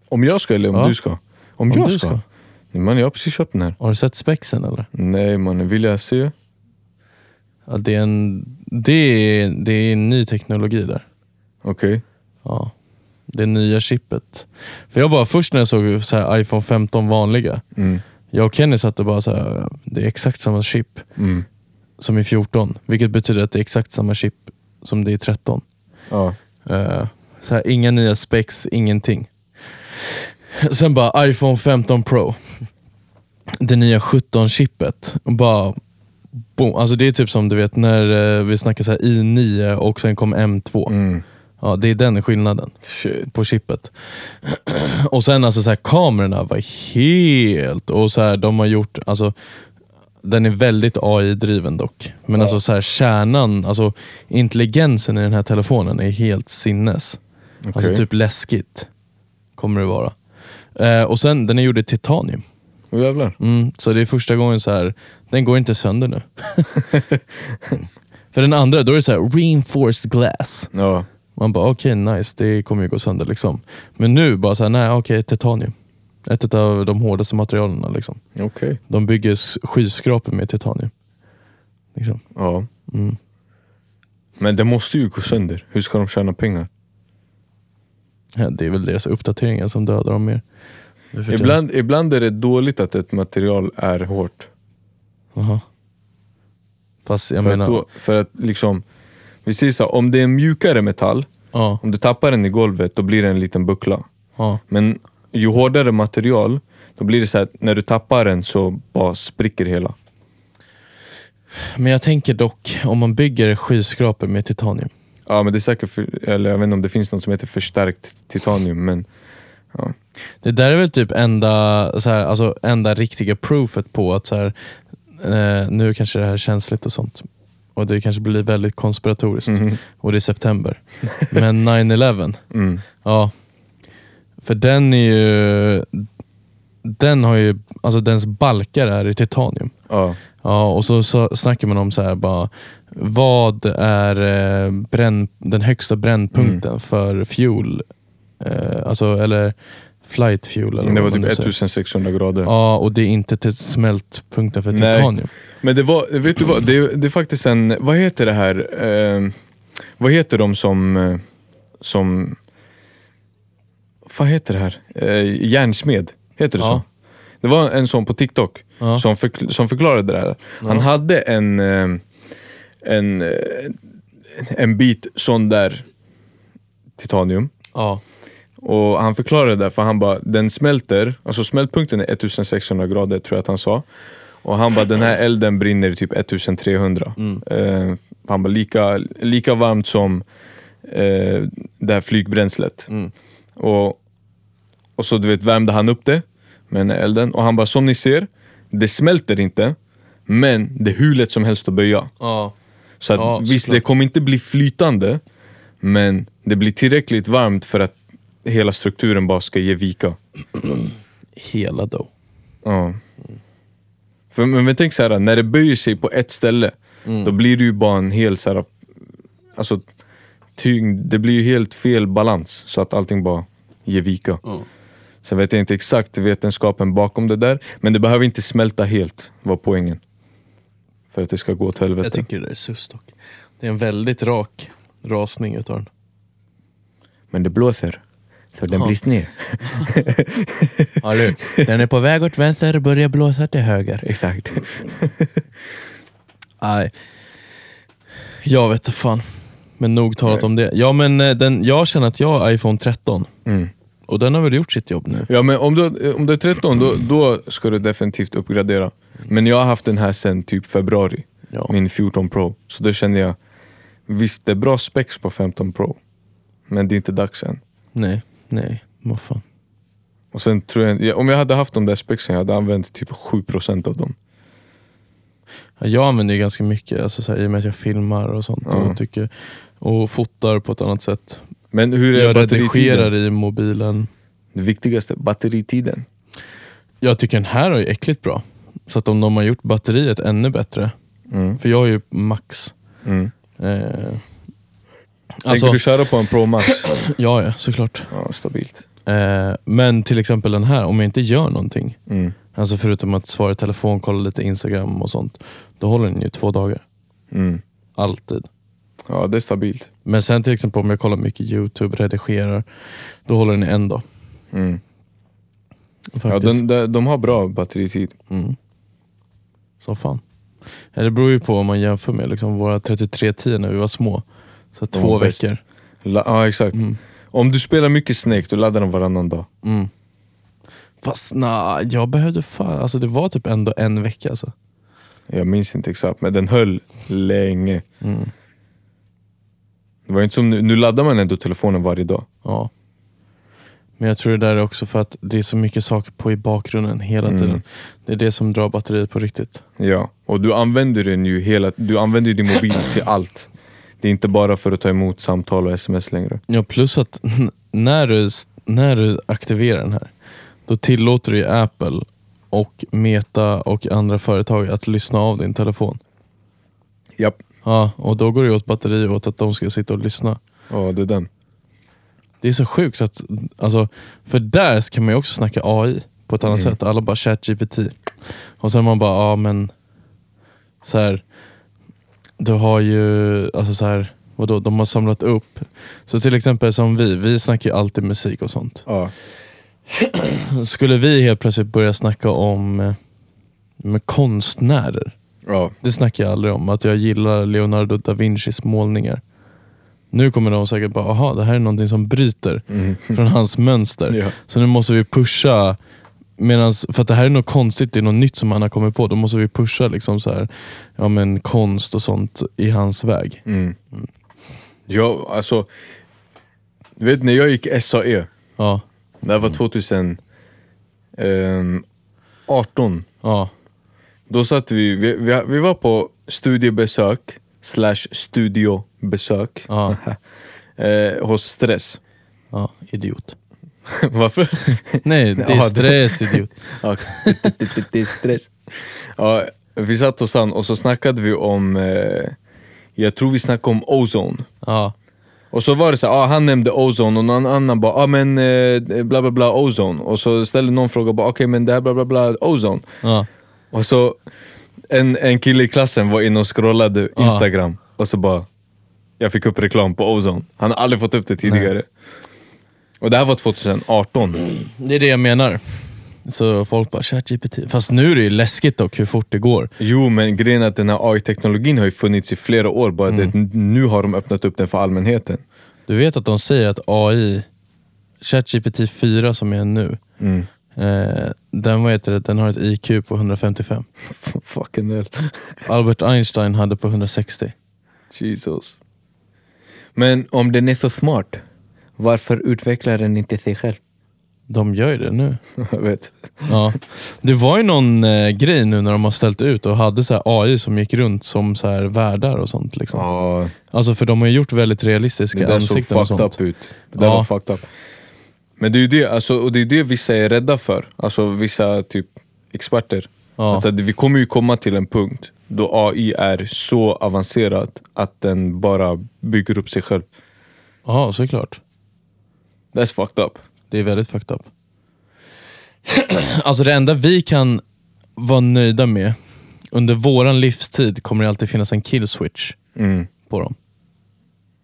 Om jag ska eller om Ja. du ska? Om, jag du ska? ska. Nej, Man, jag har precis köpt den här. Har du sett spexen eller? Nej mannen, vill jag se? Ja, det, är en, det, är, det är en ny teknologi där. Okej. Ja. Det nya chippet. För jag bara, först när jag såg så här iPhone 15 vanliga, Mm. jag och Kenny satte bara så här, det är exakt samma chip Mm. som i 14. Vilket betyder att det är exakt samma chip som det är i 13. Ja. Eh, så här, inga nya specs, ingenting. Sen bara iPhone 15 Pro. Det nya 17-chippet. Bara boom. Alltså det är typ som du vet när eh, vi snackar så här i9 och sen kom M2. Mm. Ja, det är den skillnaden Shit. på chippet. och sen alltså så här, kamerorna var helt... Och så här, de har gjort... Alltså, den är väldigt AI-driven dock. Men alltså så här, kärnan, alltså intelligensen i den här telefonen är helt sinnes. Okej. Alltså typ läskigt kommer det vara. Eh, och sen, den är gjord i titanium. Åh, jävlar. Mm, så det är första gången så här. den går inte sönder nu. För den andra, då är det så här reinforced glass. Ja. Man bara okej nice, det kommer ju gå sönder liksom. Men nu bara såhär, nej okej titanium. Ett av de hårdaste materialen liksom. Okej. De bygger s- skyskrapor med titanium. Liksom. Ja. Mm. Men det måste ju gå sönder. Hur ska de tjäna pengar? Ja, Det är väl deras uppdateringar som dödar dem mer. Nu för tiden. Ibland, ibland är det dåligt att ett material är hårt. Aha. Fast jag för, menar, att då, för att liksom... Vi säger så här, om det är en mjukare metall, ja, om du tappar den i golvet, då blir det en liten buckla. ja, Men ju hårdare material, då blir det så här att när du tappar den så bara spricker hela. Men jag tänker dock, om man bygger skyskrapor med titanium. Ja men det är säkert, för, eller jag vet inte om det finns något som heter förstärkt titanium men Det där är väl typ enda, så här, alltså, enda riktiga proofet på att så här, eh, nu kanske det här är känsligt och sånt. Och det kanske blir väldigt konspiratoriskt. Och det är september. Men 9-11, mm. ja. För den är ju... Den har ju, alltså dens balkar är i titanium. ja. Ja, och så, så snackar man om så här bara, vad är eh, bränn, den högsta brännpunkten Mm. för fuel? Eh, alltså, eller flight fuel. Eller Det var vad man typ nu säger. 1600 grader. Ja, och det är inte till smältpunkten för Nej. titanium. Men det var, vet du vad? Det, det är faktiskt en, vad heter det här? Eh, vad heter de som, eh, som, vad heter det här? Eh, järnsmed, heter det Ja. så? Det var en sån på TikTok Ja. som, förkl- som förklarade det här. Han hade en, eh, en, eh, en bit sån där titanium. Ja. Och han förklarade det, för han bara, den smälter, alltså smältpunkten är 1600 grader tror jag att han sa. Och han bara, den här elden brinner i typ 1300. Eh, han bara, lika, lika varmt som eh, det här flygbränslet. Och, och så du vet, värmde han upp det med den här elden. Och han bara, som ni ser, det smälter inte, men det är hur lätt som helst att böja. ja. Så att, Ja, visst, såklart. det kommer inte bli flytande, men det blir tillräckligt varmt för att hela strukturen bara ska ge vika. Hela då. Ja. För, men, men tänk så här, när det böjer sig på ett ställe, Mm. då blir det ju bara en hel så här, alltså, tyngd, det blir ju helt fel balans så att allting bara ger vika. Sen vet jag inte exakt vetenskapen bakom det där, men det behöver inte smälta helt, var poängen. För att det ska gå åt helvete. Jag tycker det där är sus dock. Det är en väldigt rak rasning utav den. Men det blåser, så den Ja. blir sned. Ja, du. Den är på väg åt vänster och börjar blåsa till höger. Exakt. Nej. Jag vet inte fan. Men nog talat om det. Ja, men eh, den, jag känner att jag har iPhone 13. Mm. Och den har väl gjort sitt jobb nu? Ja men om du, om du är 13 då, då ska du definitivt uppgradera. Men jag har haft den här sen typ februari, Ja. min 14 Pro. Så då kände jag, visst det är bra specs på 15 Pro, men det är inte dags än. Nej, nej. Vad fan. Och sen tror jag, ja, om jag hade haft de där spexen, jag hade använt typ 7% av dem. Ja, Jag använder ju ganska mycket, alltså, så här, i och med att jag filmar och sånt. Ja. Och, tycker, och fotar på ett annat sätt. Men hur är Jag batteritiden? redigerar i mobilen. Det viktigaste, batteritiden. Jag tycker den här är ju äckligt bra. Så att om de har gjort batteriet ännu bättre. Mm. För jag har ju max. Mm. Eh, Tänker alltså, du köra på en Pro Max? ja, ja, såklart. Ja, stabilt. Eh, men till exempel den här, om jag inte gör någonting, Mm. alltså förutom att svara i telefon, kolla lite Instagram och sånt, då håller den ju två dagar. Mm. Alltid. Ja, det är stabilt. Men sen till exempel om jag kollar mycket YouTube, redigerar, då håller den en dag. Mm. Ja, Faktiskt. den, de, de har bra batteritid. Mm. Så fan. Ja, det beror ju på om man jämför med liksom våra 3310 när vi var små. Så De två var bäst. veckor. La, ja, exakt. Mm. Om du spelar mycket Snake, då laddar de varannan dag. Mm. Fast na, jag behövde fan, alltså det var typ ändå en vecka alltså. Jag minns inte exakt, men den höll länge. Mm. Det var inte som nu, nu laddar man ändå telefonen varje dag. Ja. Men jag tror det där är också för att det är så mycket saker på i bakgrunden hela Mm. tiden. Det är det som drar batteriet på riktigt. Ja, och du använder den ju hela, du använder ju din mobil till allt. Det är inte bara för att ta emot samtal och sms längre. Ja, plus att när du, när du aktiverar den här, då tillåter du ju Apple och Meta och andra företag att lyssna av din telefon. Japp. Ja, och då går det ju åt batteri åt att de ska sitta och lyssna. Ja, det är den. Det är så sjukt att, alltså, för där kan man ju också snacka AI på ett annat Mm. sätt. Alla bara ChatGPT. Och sen man bara, ja men, så här, du har ju, alltså så här, vadå, de har samlat upp. Så till exempel som vi, vi snackar ju alltid musik och sånt. Ja. Skulle vi helt plötsligt börja snacka om eh, med konstnärer? Ja. Det snackar jag aldrig om, att jag gillar Leonardo da Vincis målningar. Nu kommer de säkert bara, aha, det här är någonting som bryter Mm. från hans mönster. Ja. Så nu måste vi pusha, medans, för att det här är något konstigt, det är något nytt som han har kommit på. Då måste vi pusha liksom så här, ja, men konst och sånt i hans väg. Mm. Ja, alltså. Du vet när jag gick SAE, Ja, det här var ehm, 2018. ja, Då satt vi, vi, vi, vi var på studiebesök, slash studiobesök, ja, eh, hos Stress. ja idiot. Varför? Nej, det Ja, är det- stress idiot. Ja, det- det- det- det är stress. Ja, vi satt hos han och så snackade vi om, eh, jag tror vi snackade om ozone. Ja, Och så var det så här, ah, han nämnde ozone och någon annan bara ah, men eh, bla bla bla ozone. Och så ställde någon fråga, bara, okej men det här bla bla bla ozone. ja, Och så en, en kille i klassen var inne och scrollade Ja. instagram och så bara jag fick upp reklam på ozone. Han har aldrig fått upp det tidigare. Och det här var 2018. det är det jag menar. Så folk bara, ChatGPT. Fast nu är det ju läskigt dock hur fort det går. Jo, men grejen är att den här AI-teknologin har ju funnits i flera år, bara det, nu har de öppnat upp den för allmänheten. Du vet att de säger att AI, ChatGPT 4 som är nu, Mm. eh, den, vad heter det, den har ett IQ på 155. F- Fucking hell. Albert Einstein hade på 160. Jesus. Men om den är så smart, varför utvecklar den inte sig själv? De gör ju det nu. Jag vet. Ja. Det var ju någon eh, grej nu när de har ställt ut och hade så här AI som gick runt som så här värdar och sånt. Liksom. Ja, Alltså för de har ju gjort väldigt det realistiska där såg ansikten och fucked sånt. up ut. Det där Ja. var fucked up. Men det är ju det, alltså, och det, är det vissa är rädda för. Alltså vissa typ experter. Ja. Alltså, vi kommer ju komma till en punkt då AI är så avancerat att den bara bygger upp sig själv. Ja, såklart. That's fucked up. Det är väldigt fucked up. alltså det enda vi kan vara nöjda med, under våran livstid kommer det alltid finnas en kill switch Mm. på dem.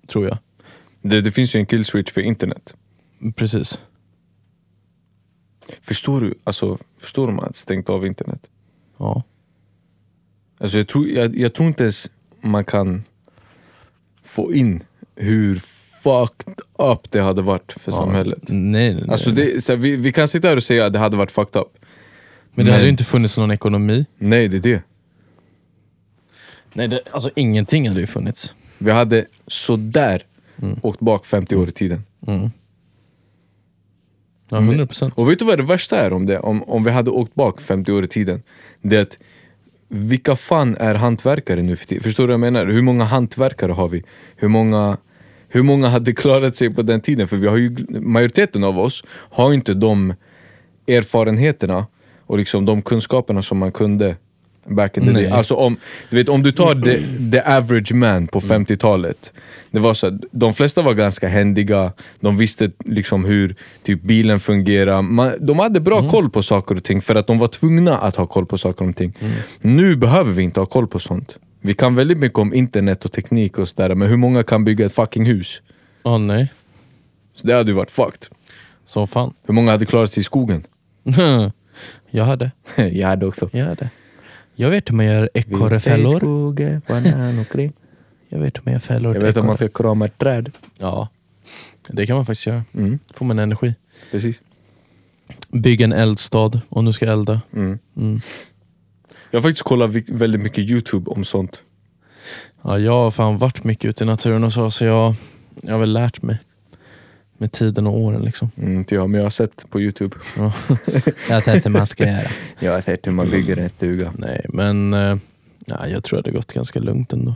Tror jag. Det, det finns ju en kill switch för internet. Precis. Förstår du? Alltså, förstår de att stängt av internet? Ja. Alltså, jag, tror, jag, jag tror inte ens man kan få in hur fucked up det hade varit för samhället. Ja, nej, nej, nej. Alltså, det, så här, vi, vi kan sitta här och säga att det hade varit fucked up. men det hade men- ju inte funnits någon ekonomi. Nej, det är det. Nej, det, alltså ingenting hade ju funnits. Vi hade sådär åkt bak 50 år i tiden. Ja, 100 procent. Och vet du vad det värsta är om det? Om, om vi hade åkt bak 50 år i tiden. Det är att vilka fan är hantverkare nu för tiden? Förstår du vad jag menar? Hur många hantverkare har vi? Hur många, hur många hade klarat sig på den tiden? För vi har ju, majoriteten av oss har ju inte de erfarenheterna och liksom de kunskaperna som man kunde back in the Nej. day. Alltså om du, vet, om du tar the, the average man på 50-talet. Det var så, här, de flesta var ganska händiga, de visste liksom hur typ, bilen fungerar. Man, de hade bra koll på saker och ting för att de var tvungna att ha koll på saker och ting. Nu behöver vi inte ha koll på sånt. Vi kan väldigt mycket om internet och teknik och sådär, men hur många kan bygga ett fucking hus? Ja, nej. Så det hade ju varit fucked. Så fan. Hur många hade klarat sig i skogen? jag hade. Jag hade också. Jag hade. Jag vet hur man gör ekorrefällor. eh, Jag vet hur man gör fällor. Jag till vet att man ekorre. ska krama ett träd. Ja, det kan man faktiskt göra. Mm. Får man energi. Precis. Bygg en eldstad om du ska elda. Mm. Mm. Jag har faktiskt kollat vik- väldigt mycket youtube om sånt. Ja, jag har fan varit mycket ute i naturen och så, så jag, jag har väl lärt mig. Med tiden och åren liksom. Mm, inte jag, men jag har sett på youtube. Jag har testat med allt kan göra. Jag har sett hur man bygger en stuga. Nej, men eh, ja, jag tror det hade gått ganska lugnt ändå.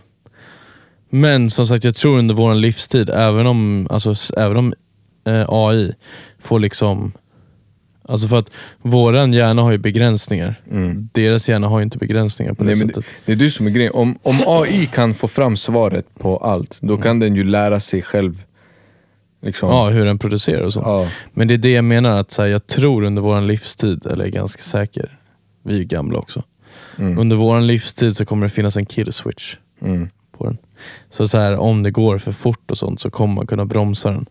Men som sagt, jag tror under vår livstid, även om, alltså, s- även om eh, AI får liksom... Alltså för att våran hjärna har ju begränsningar. Mm. Deras hjärna har ju inte begränsningar på det Nej, men sättet. Det är du som är grejen. Om, om AI kan få fram svaret på allt, då kan den ju lära sig själv. Liksom. Ja, hur den producerar och så. Ja. Men det är det jag menar, att så här, jag tror under vår livstid, eller är ganska säker, vi är ju gamla också. Mm. Under vår livstid så kommer det finnas en kill switch Mm. på den. Så, så här, om det går för fort och sånt så kommer man kunna bromsa den.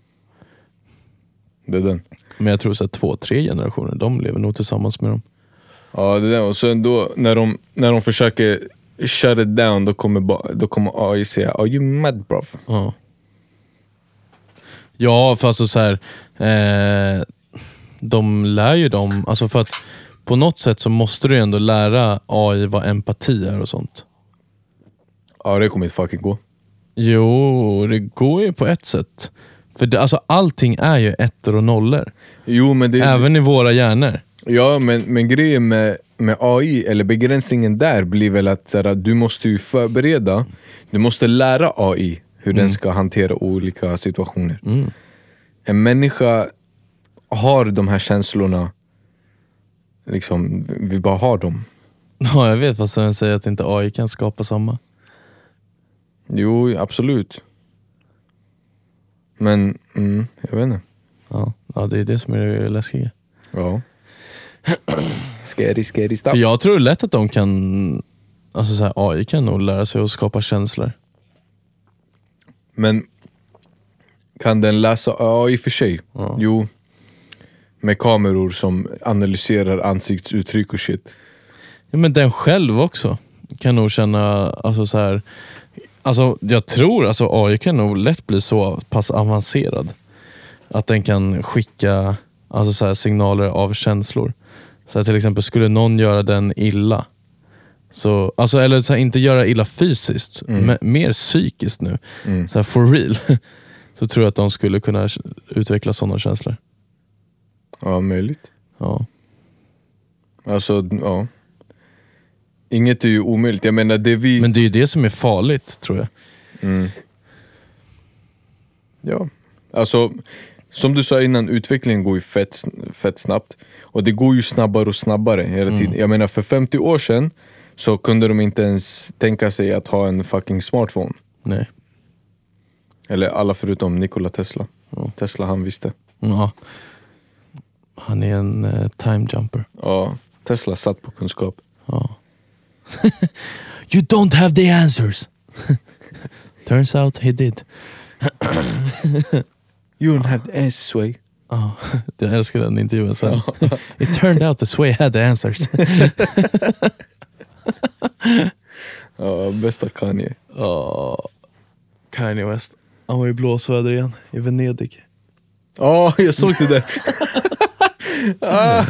Det är den. Men jag tror så att två, tre generationer, de lever nog tillsammans med dem. Ja, det där. Och sen då, när de, när de försöker shut it down, då kommer, ba- då kommer AI säga Are you mad bro? Ja, ja för alltså så här, eh, de lär ju dem, alltså för att på något sätt så måste du ju ändå lära AI vad empati är och sånt. Ja, det kommer inte fucking gå. Jo, det går ju på ett sätt. För det, alltså, allting är ju ettor och nollor. Jo, men det, Även i våra hjärnor. Ja, men, men grejen med, med AI, eller begränsningen där, blir väl att så här, du måste ju förbereda, du måste lära AI hur den ska hantera olika situationer. En människa har de här känslorna, liksom, vi bara har dem. Ja, jag vet vad Sören säger att inte AI kan skapa samma. Jo, absolut. Men, mm, jag vet inte. Ja, ja det är det som är det läskiga. Ja. scary, scary stuff. För jag tror lätt att de kan, alltså så här, AI kan nog lära sig att skapa känslor. Men kan den läsa? Ja, i och för sig. Jo. Med kameror som analyserar ansiktsuttryck och shit. Ja, men den själv också kan nog känna, alltså så här, alltså jag tror alltså AI kan nog lätt bli så pass avancerad att den kan skicka alltså så här, signaler av känslor. Så här, till exempel skulle någon göra den illa, så, alltså, eller så här, inte göra illa fysiskt, men mer psykiskt nu, så här, for real, så tror jag att de skulle kunna utveckla sådana känslor. Ja, möjligt. Ja. Alltså, ja. Inget är ju omöjligt. Jag menar, det vi... Men det är ju det som är farligt tror jag. Ja. Alltså, som du sa innan, utvecklingen går ju fett, fett snabbt. Och det går ju snabbare och snabbare hela tiden. Jag menar, för 50 år sedan så kunde de inte ens tänka sig att ha en fucking smartphone. Nej. Eller alla förutom Nikola Tesla. Tesla, han visste. Ja. Han är en eh, time jumper. Ja, Tesla satt på kunskap. Ja. you don't have the answers! Turns out he did. You don't have the S-way. Ja, jag älskar den intervjun sen. It turned out the Sway had the answers. Ja, bästa Kanye. Ja. Kanye West. Han var i blåsväder igen i Venedig. Ja, jag såg det där! ah,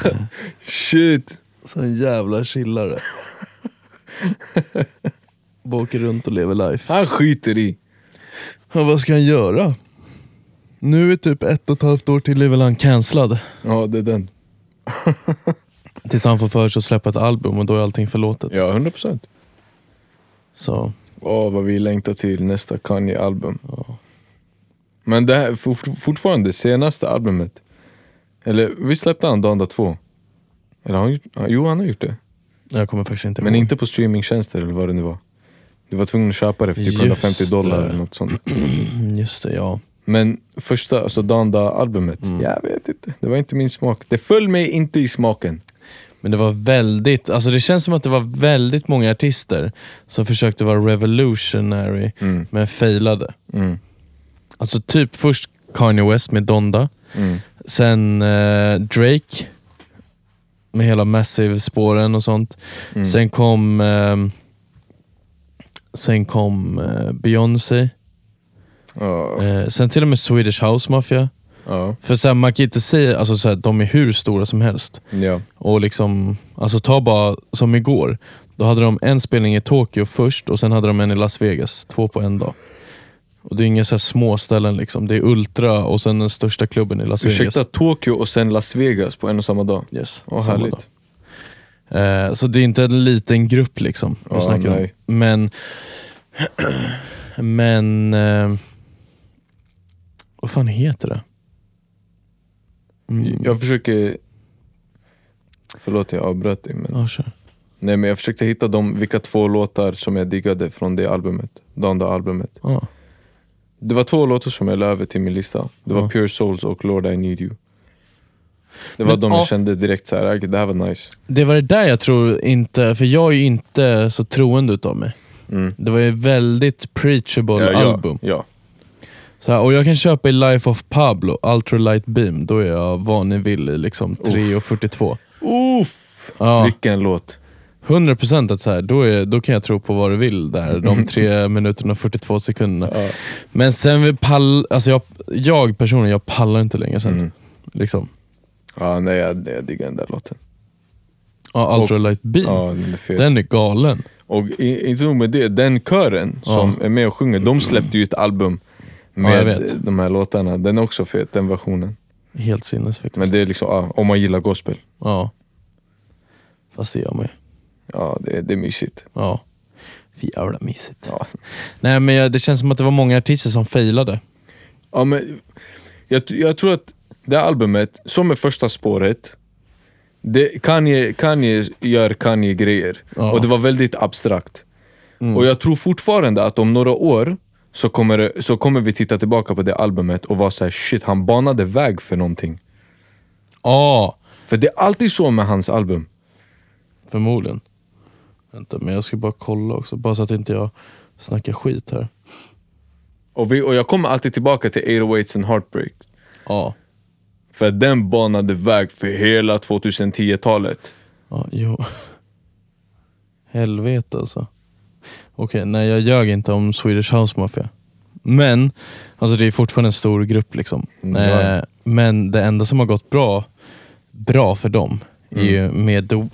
shit! Så en jävla chillare. Bara åker runt och lever life. Han skiter i. Ja, vad ska han göra? Nu är typ ett och ett halvt år till är väl han cancellad. Ja, det är den. Tills han får för sig att släppa ett album och då är allting förlåtet. Ja, 100 procent. Så, Åh, vad vi längtar till nästa Kanye-album. Men det här, for, fortfarande, senaste albumet. Eller, vi släppte han Donda 2? Eller, han, jo, han har gjort det. Jag kommer faktiskt inte Men ihåg. inte på streamingtjänster eller vad det nu var. Du var tvungen att köpa det för typ Just 150 dollar det. eller något sånt. Mm, Just det, ja. Men första, alltså Danda-albumet, jag vet inte. Det var inte min smak. Det föll mig inte i smaken. Men det var väldigt, alltså det känns som att det var väldigt många artister som försökte vara revolutionary Mm. men failade. Mm. Alltså typ först Kanye West med Donda, Mm. sen eh, Drake med hela Massive-spåren och sånt. Mm. Sen kom ehm, Sen kom eh, Beyoncé, Ja, eh, sen till och med Swedish House Mafia. ja, För så här, man kan inte säga, alltså så här, de är hur stora som helst. ja. Och liksom, alltså ta bara som igår. Då hade de en spelning i Tokyo först och sen hade de en i Las Vegas, två på en dag. Och Det är inga så här små ställen liksom. Det är Ultra och sen den största klubben i Las Ursäkta, Vegas. Tokyo och sen Las Vegas på en och samma dag. Yes, Åh, samma härligt. dag. Eh, så det är inte en liten grupp liksom. vi Ja, snackar om. nej. Men... men... Eh, vad fan heter det? Mm. Jag försöker... Förlåt, jag avbröt dig. Men... Ja, kör. Nej, men jag försökte hitta de, vilka två låtar som jag diggade från det albumet. Danda-albumet. Ja. Det var två låtar som jag la över till min lista. Det var Ja. Pure Souls och Lord I Need You. Det var Men, de jag ja. kände direkt så här, "Okej, det här var nice. Det var det där jag tror inte, för jag är ju inte så troende utav mig. Mm. Det var ju väldigt preachable album. Ja, Så här, och jag kan köpa i Life of Pablo, Ultralight Beam, då är jag vad ni vill i liksom 3.42. ja. Uff, Ja, vilken låt. 100% att så här, då, är, då kan jag tro på vad du vill där, de 3 minuterna och 42 sekunderna. Ja. Men sen, vi pall, alltså jag, jag personligen, jag pallar inte längre sen. Mm. Liksom. Ja, nej, jag, jag diggar den där låten. Ja, Ultralight Beam, Ja, den är fet. Mm. den är galen. Och i, inte nog med det, den kören som är med och sjunger, de släppte ju ett album Ja, med jag vet. de här låtarna. Den är också fet, den versionen. Helt sinnes faktiskt. Men det är liksom, ja, om man gillar gospel, Ja. Fast det gör man ju. ja, det, det är mysigt. Ja. Fy jävla mysigt. Ja. Nej men jag, det känns som att det var många artister som failade. Ja, men jag, jag tror att det här albumet, som är första spåret, det, Kanye, Kanye gör Kanye-grejer. Ja. Och det var väldigt abstrakt. Och jag tror fortfarande att om några år så kommer, det- så kommer vi titta tillbaka på det albumet och vara såhär shit, han banade väg för någonting. Ja, För det är alltid så med hans album. förmodligen. Vänta, men jag ska bara kolla också, bara så att inte jag snackar skit här. Och, vi, och jag kommer alltid tillbaka till 808s and Heartbreak. Ja, För den banade väg för hela 2010-talet. ja jo. Helvete alltså. Okej, nej jag ljög inte om Swedish House Mafia. Men, alltså det är fortfarande en stor grupp liksom. Mm, ja. Eh, men det enda som har gått bra, bra för dem, är ju med The,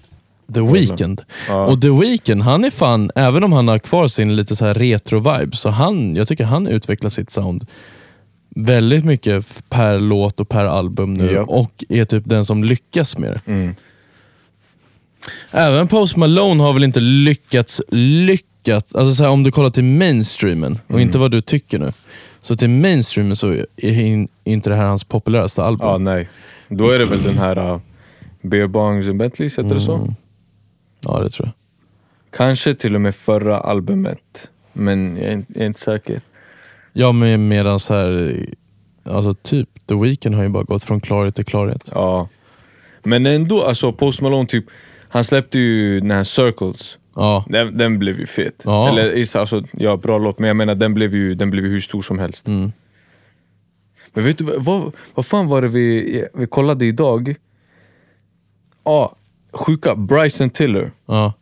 The Weeknd. Mm. Ja. Och The Weeknd, han är fan, även om han har kvar sin lite så här retro-vibe, så han, jag tycker han utvecklar sitt sound väldigt mycket f- per låt och per album nu Ja. och är typ den som lyckas med det. Mm. Även Post Malone har väl inte lyckats, lyckats, alltså så här, om du kollar till mainstreamen Mm. och inte vad du tycker nu. Så till mainstreamen så är in- inte det här hans populäraste album. Ja, nej. Då är det väl den här uh, Beer Bongs and Bentleys, heter det Mm. så? ja det tror jag. Kanske till och med förra albumet. Men jag är, inte- jag är inte säker. Ja, men medan så här, alltså typ The Weeknd har ju bara gått från klarhet till klarhet. Ja. Men ändå, alltså Post Malone, typ, han släppte ju den här Circles. Ja, Den, den blev ju fet. Ja. Eller is- alltså, ja, bra låt, men jag menar den blev ju, den blev ju hur stor som helst. Mm. Men vet du, vad- vad, vad fan var det vi, vi kollade idag? Ja, sjuka. Bryson Tiller ja.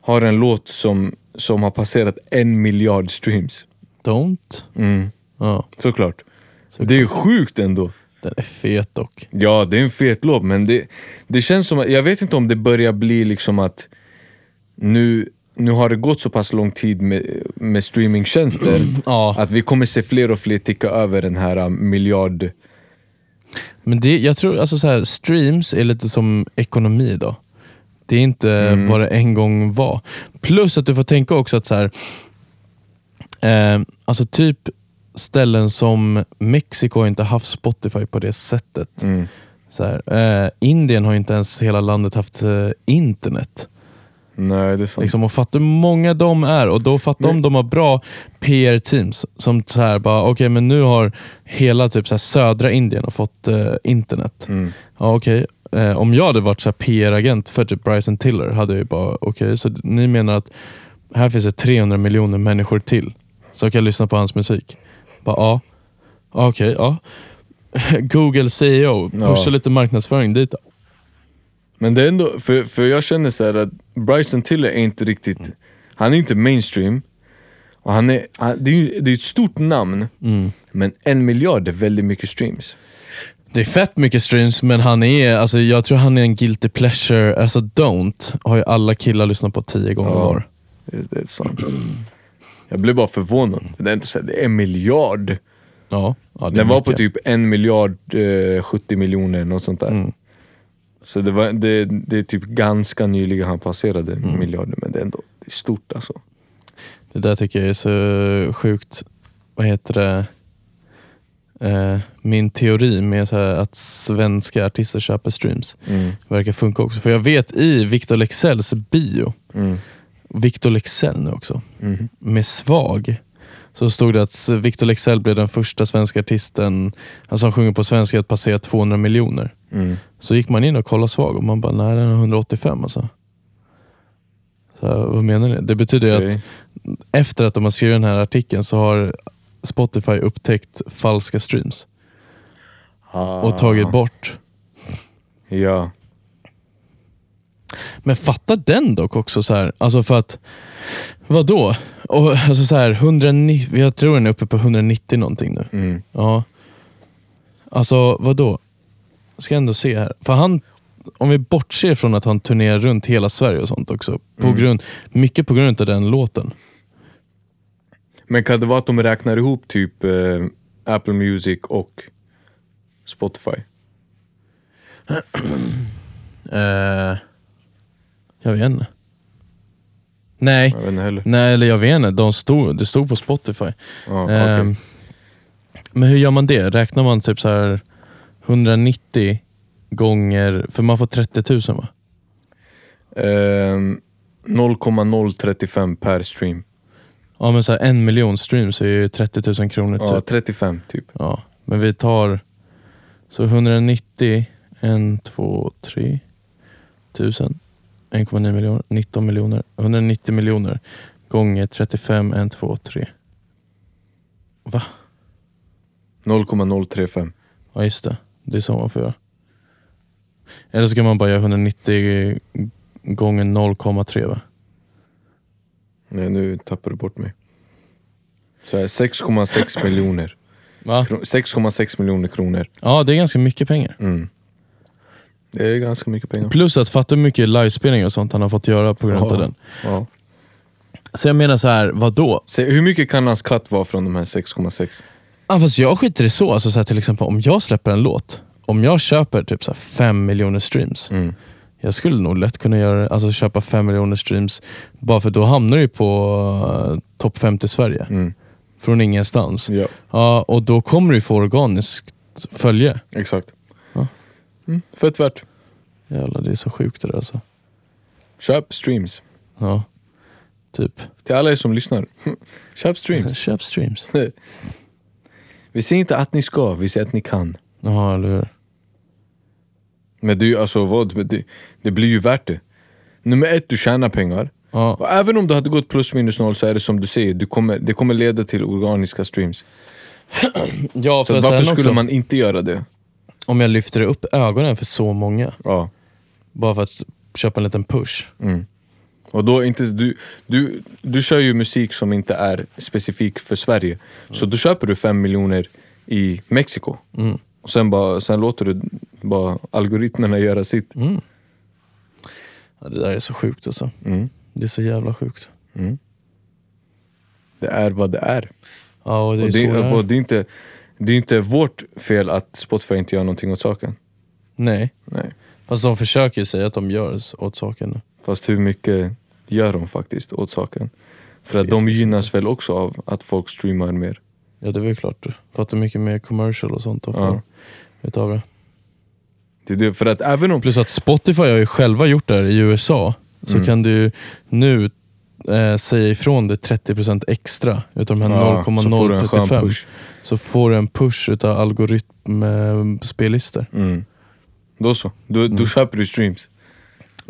har en låt som, som har passerat en miljard streams. Don't. Mm. Ja, Såklart. Det är sjukt ändå. den är fet dock. Ja, det är en fet låt, men det, det känns som att, jag vet inte om det börjar bli liksom att nu, nu har det gått så pass lång tid med, med streamingtjänster Ja. att vi kommer se fler och fler ticka över den här äh, miljard... Men det, jag tror alltså så här, streams är lite som ekonomi idag. Det är inte vad det en gång var. Plus att du får tänka också att så här, eh, alltså typ ställen som Mexiko har inte haft Spotify på det sättet. Så här, eh, Indien har inte ens hela landet haft eh, internet. Nej, det är sant. Liksom, och fatta hur många de är och då fattar de de har bra PR-teams som så här bara, okej men nu har hela typ så här, södra Indien har fått eh, internet. Mm. Ja, okej. Eh, om jag hade varit så här PR-agent för typ Bryson Tiller hade jag ju bara, okej så ni menar att här finns det 300 miljoner människor till som kan lyssna på hans musik? Bara, ja. Ja, Okej, ja. Google CEO, Ja. pusha lite marknadsföring dit. Men det är ändå, för, för jag känner så här att Bryson Tiller är inte riktigt, Mm. han är ju inte mainstream. Och han är, han, det, är ju, det är ju ett stort namn, Mm. men en miljard är väldigt mycket streams. Det är fett mycket streams, men han är, alltså, jag tror han är en guilty pleasure. Alltså don't har ju alla killar lyssnat på tio gånger Ja. var. Det, det är sant. Jag blev bara förvånad. För det är inte så här, det är en miljard. Mm. Ja, ja, det är Den var på mycket. typ en miljard eh, 70 miljoner, något sånt där. Mm. Så det, var, det, det är typ ganska nyligen han passerade Mm. miljarden, men det är ändå det är stort alltså. Det där tycker jag är så sjukt, vad heter det, eh, min teori med så här att svenska artister köper streams Mm. verkar funka också. För jag vet i Victor Leksells bio, Mm. Victor Leksell nu också, Mhm. med Svag, så stod det att Victor Leksell blev den första svenska artisten, alltså han sjunger på svenska, att passera 200 miljoner. Mm. Så gick man in och kollade svag och man bara, nej den är 185 alltså. Så här, vad menar ni? Det betyder ju att Okej. efter att de har skrivit den här artikeln så har Spotify upptäckt falska streams och tagit bort. Ja. Men fatta den dock också så här. alltså för att, vadå? Och, alltså så här, 190, jag tror den är uppe på 190 någonting nu. Mm. Ja. Alltså vadå? Ska jag ändå se här. För han, om vi bortser från att han turnerar runt hela Sverige och sånt också. På grund, mycket på grund av den låten. Men kan det vara att de räknar ihop typ eh, Apple Music och Spotify? Eh, jag vet inte. Nej. Jag vet inte heller. Nej, eller jag vet inte. De stod, det stod på Spotify. Ja, Ehm, okej. Men hur gör man det? Räknar man typ så här 190 gånger, för man får 30 000 va? Ehm, 0,035 per stream. Ja men så här, en miljon streams är ju 30 000 kronor Ja, typ. 35 typ. Ja, men vi tar så 190, 1, 2, 3, 1000, 1,9 miljoner, 19 miljoner, 190 miljoner gånger 35, 1, 2, 3. Va? 0,035. Ja just det, det är så man får göra. Eller så kan man bara göra 190 gånger 0,3 va? Nej, nu tappar du bort mig. Så här, 6,6 miljoner. Va? Kro- 6,6 miljoner kronor. Ja det är ganska mycket pengar. Mm. Det är ganska mycket pengar. Plus att fatta hur mycket livespelningar och sånt han har fått göra på grund av Ja. den. Ja. Så jag menar så här, vadå? Se, hur mycket kan hans cut vara från de här 6,6? Ja, fast jag skiter i så. Alltså, så här, till exempel om jag släpper en låt, om jag köper typ så här, 5 miljoner streams, Mm. jag skulle nog lätt kunna göra, alltså, köpa 5 miljoner streams, bara för då hamnar du ju på uh, topp 50 Sverige. Mm. Från ingenstans. Ja, Ja, och då kommer du få organiskt följe. exakt. Ja. Mm. Fett värt. Jävlar, det är så sjukt det där alltså. Köp streams. Ja, typ. Till alla er som lyssnar. Köp streams. Köp streams. Vi säger inte att ni ska, vi säger att ni kan. Ja, eller hur? Men det, är ju- alltså, vad, Men det, det blir ju värt det. Nummer ett, du tjänar pengar. Ja, Och även om du hade gått plus minus noll så är det som du säger, du kommer, det kommer leda till organiska streams. ja Så för varför sen skulle också, man inte göra det? om jag lyfter upp ögonen för så många, Ja. bara för att köpa en liten push. Och då är inte, du, du, du kör ju musik som inte är specifik för Sverige. Så då köper du fem miljoner i Mexiko. Och sen, bara, sen låter du bara algoritmerna göra sitt. Ja, det där är så sjukt alltså. Mm. Det är så jävla sjukt. Det är vad det är. Ja, och det är Och så det, det är. är. Och det, är inte, det är inte vårt fel att Spotify inte gör någonting åt saken. Nej, Nej. fast de försöker ju säga att de gör s- åt saken. nu. Fast hur mycket gör de faktiskt åt saken? För att de gynnas väl också av att folk streamar mer. Ja, det är väl klart. För att det är mycket mer commercial och sånt de får Ja. utav det. Det är det, för att även om... Plus att Spotify har ju själva gjort det här i USA. så Mm. kan du nu eh, säga ifrån dig 30% extra utav de här Ja, så får du en skön 0,035. push. Så får du en push utav eh, algoritmspellistor. Mm. Då så. Då, då köper du streams.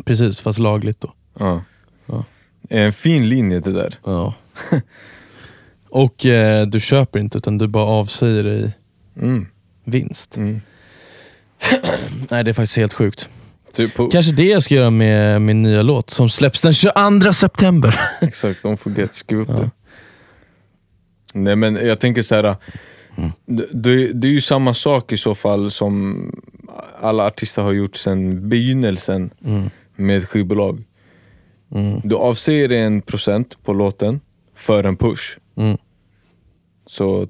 Precis, fast lagligt då. Ja. Ja. En fin linje det där. Ja. Och eh, du köper inte utan du bara avsäger dig Mm. vinst. Mm. Nej det är faktiskt helt sjukt. Typ på, Kanske det jag ska göra med min nya låt som släpps den 22 september. Exakt, de får get, skriv upp det. Nej men jag tänker så här. äh, Mm. Det, det, det är ju samma sak i så fall som alla artister har gjort sedan begynnelsen Mm. med ett skivbolag. Du avser dig en procent på låten för en push. Mm. Så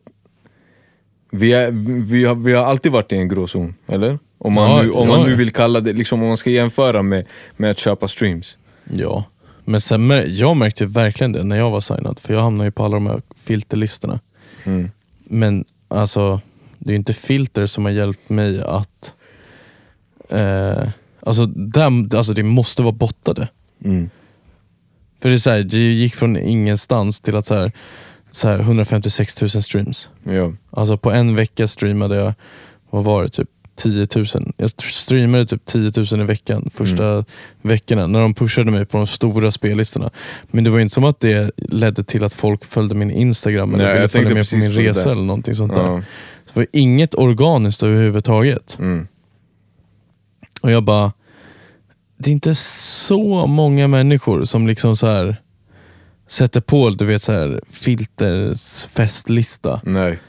vi, är, vi, har, vi har alltid varit i en gråzon, eller? Om man, Ja, nu, om ja, man nu ja. vill kalla det, liksom om man ska jämföra med, med att köpa streams. Ja, men sen, mär- jag märkte ju verkligen det när jag var signad, för jag hamnade ju på alla de här filterlistorna. Mm. Men alltså, det är ju inte filter som har hjälpt mig att... Eh, alltså, dem, alltså, det måste vara bottade. Mm. För det, är så här, det gick från ingenstans till att så här, så här 156 000 streams. Ja. Alltså på en vecka streamade jag, vad var det, typ 10 000. Jag tr- streamade typ 10 000 i veckan första Mm. veckorna när de pushade mig på de stora spellistorna. Men det var inte som att det ledde till att folk följde min Instagram eller Nej, ville jag följa tänkte med på precis min på det resa där. eller någonting sånt där. Ja. Så det var inget organiskt överhuvudtaget. Mm. Och jag bara, det är inte så många människor som liksom så här sätter på du vet så här filtersfestlista. Nej.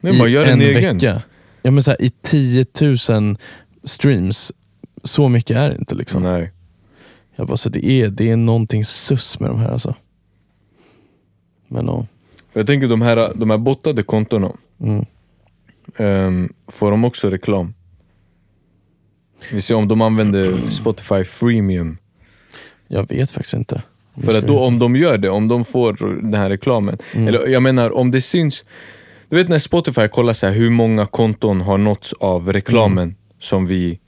Nej, bara gör en, egen. vecka. Ja, men så här, I 10 000 streams, så mycket är det inte. Liksom. Nej. Jag bara, så det, är, det är någonting sus med de här alltså. Men ja. Jag tänker de här, de här bottade kontona, Mm. ehm, får de också reklam? Vi ser om de använder Spotify freemium. Jag vet faktiskt inte. För att då om de gör det, om de får den här reklamen. Eller jag menar om det syns. Du vet när Spotify kollar så här, hur många konton har nåtts av reklamen som vi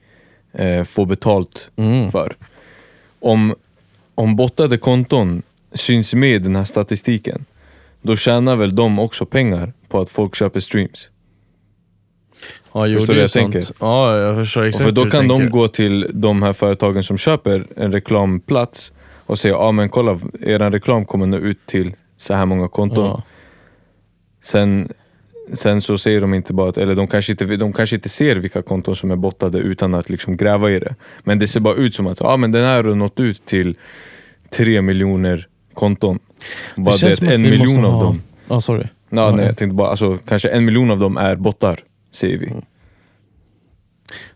eh, får betalt för. Om, om bottade konton syns med i den här statistiken, då tjänar väl de också pengar på att folk köper streams. ja, jo, Förstår det du är jag sant. tänker? Ja, jag förstår Och exakt för då hur du kan de tänker. gå till de här företagen som köper en reklamplats och säga ja ah, men kolla, er reklam kommer nå ut till så här många konton. Ja. Sen, sen så ser de inte bara, att, eller de kanske inte, de kanske inte ser vilka konton som är bottade utan att liksom gräva i det. Men det ser bara ut som att ah, men den här har nått ut till tre miljoner konton. Bara det, känns som att att en vi måste miljon av ha- dem Ja, sorry. Ja, Ja, nej, ja. jag tänkte bara, alltså, kanske en miljon av dem är bottar, säger vi. Mm.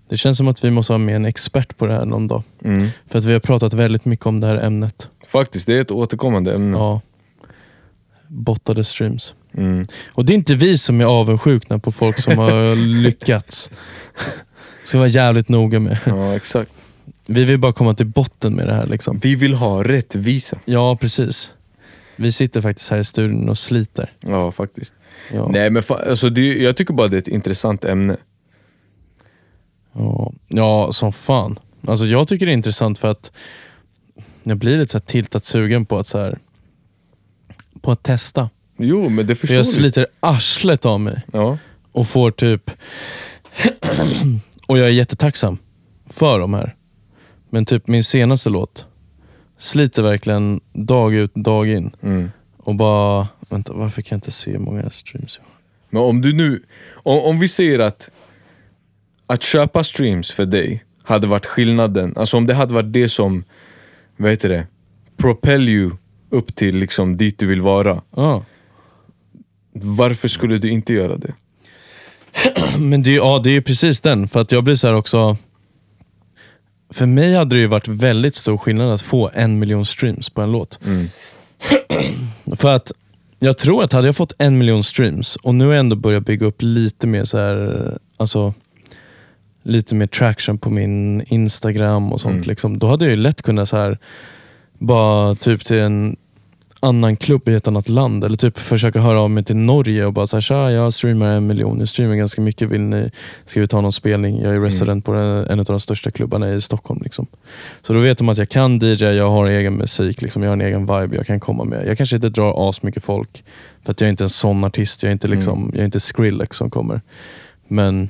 Det känns som att vi måste ha med en expert på det här någon dag. Mm. För att vi har pratat väldigt mycket om det här ämnet. Faktiskt, det är ett återkommande ämne. Ja. Bottade streams. Mm. Och det är inte vi som är avundsjukna på folk som har lyckats. Ska vara jävligt noga med. ja, exakt. Vi vill bara komma till botten med det här. Liksom. Vi vill ha rättvisa. Ja, precis. Vi sitter faktiskt här i studion och sliter. Ja, faktiskt. Ja. Nej, men fa- alltså, det, är- jag tycker bara det är ett intressant ämne. Ja. ja, som fan. Alltså, jag tycker det är intressant för att jag blir lite så här tiltat sugen på att, så här, på att testa. Jo, men det För förstår jag du. sliter arslet av mig. Ja. och får typ... och jag är jättetacksam för de här. Men typ min senaste låt sliter verkligen dag ut dag in. Mm. Och bara, vänta varför kan jag inte se hur många streams jag har? Men om du nu, om, om vi säger att att köpa streams för dig hade varit skillnaden, alltså om det hade varit det som, vad heter det, propel you upp till liksom dit du vill vara. Ja. Varför skulle du inte göra det? Men det, är- ja, det är ju precis den, för att jag blir så här också... För mig hade det ju varit väldigt stor skillnad att få en miljon streams på en låt. Mm. För att jag tror att hade jag fått en miljon streams och nu har jag ändå börjat bygga upp lite mer så här, alltså lite mer traction på min Instagram och sånt. Mm. Liksom. Då hade jag ju lätt kunnat så här, bara typ till en annan klubb i ett annat land. Eller typ försöka höra av mig till Norge och bara såhär, tja jag streamar en miljon, jag streamar ganska mycket, vill ni, ska vi ta någon spelning? Jag är resident på en, en av de största klubbarna i Stockholm. Liksom. Så då vet de att jag kan DJ, jag har egen musik, liksom, jag har en egen vibe jag kan komma med. Jag kanske inte drar asmycket folk, för att jag är inte en sån artist, jag är inte, liksom, jag är inte Skrillex som kommer. Men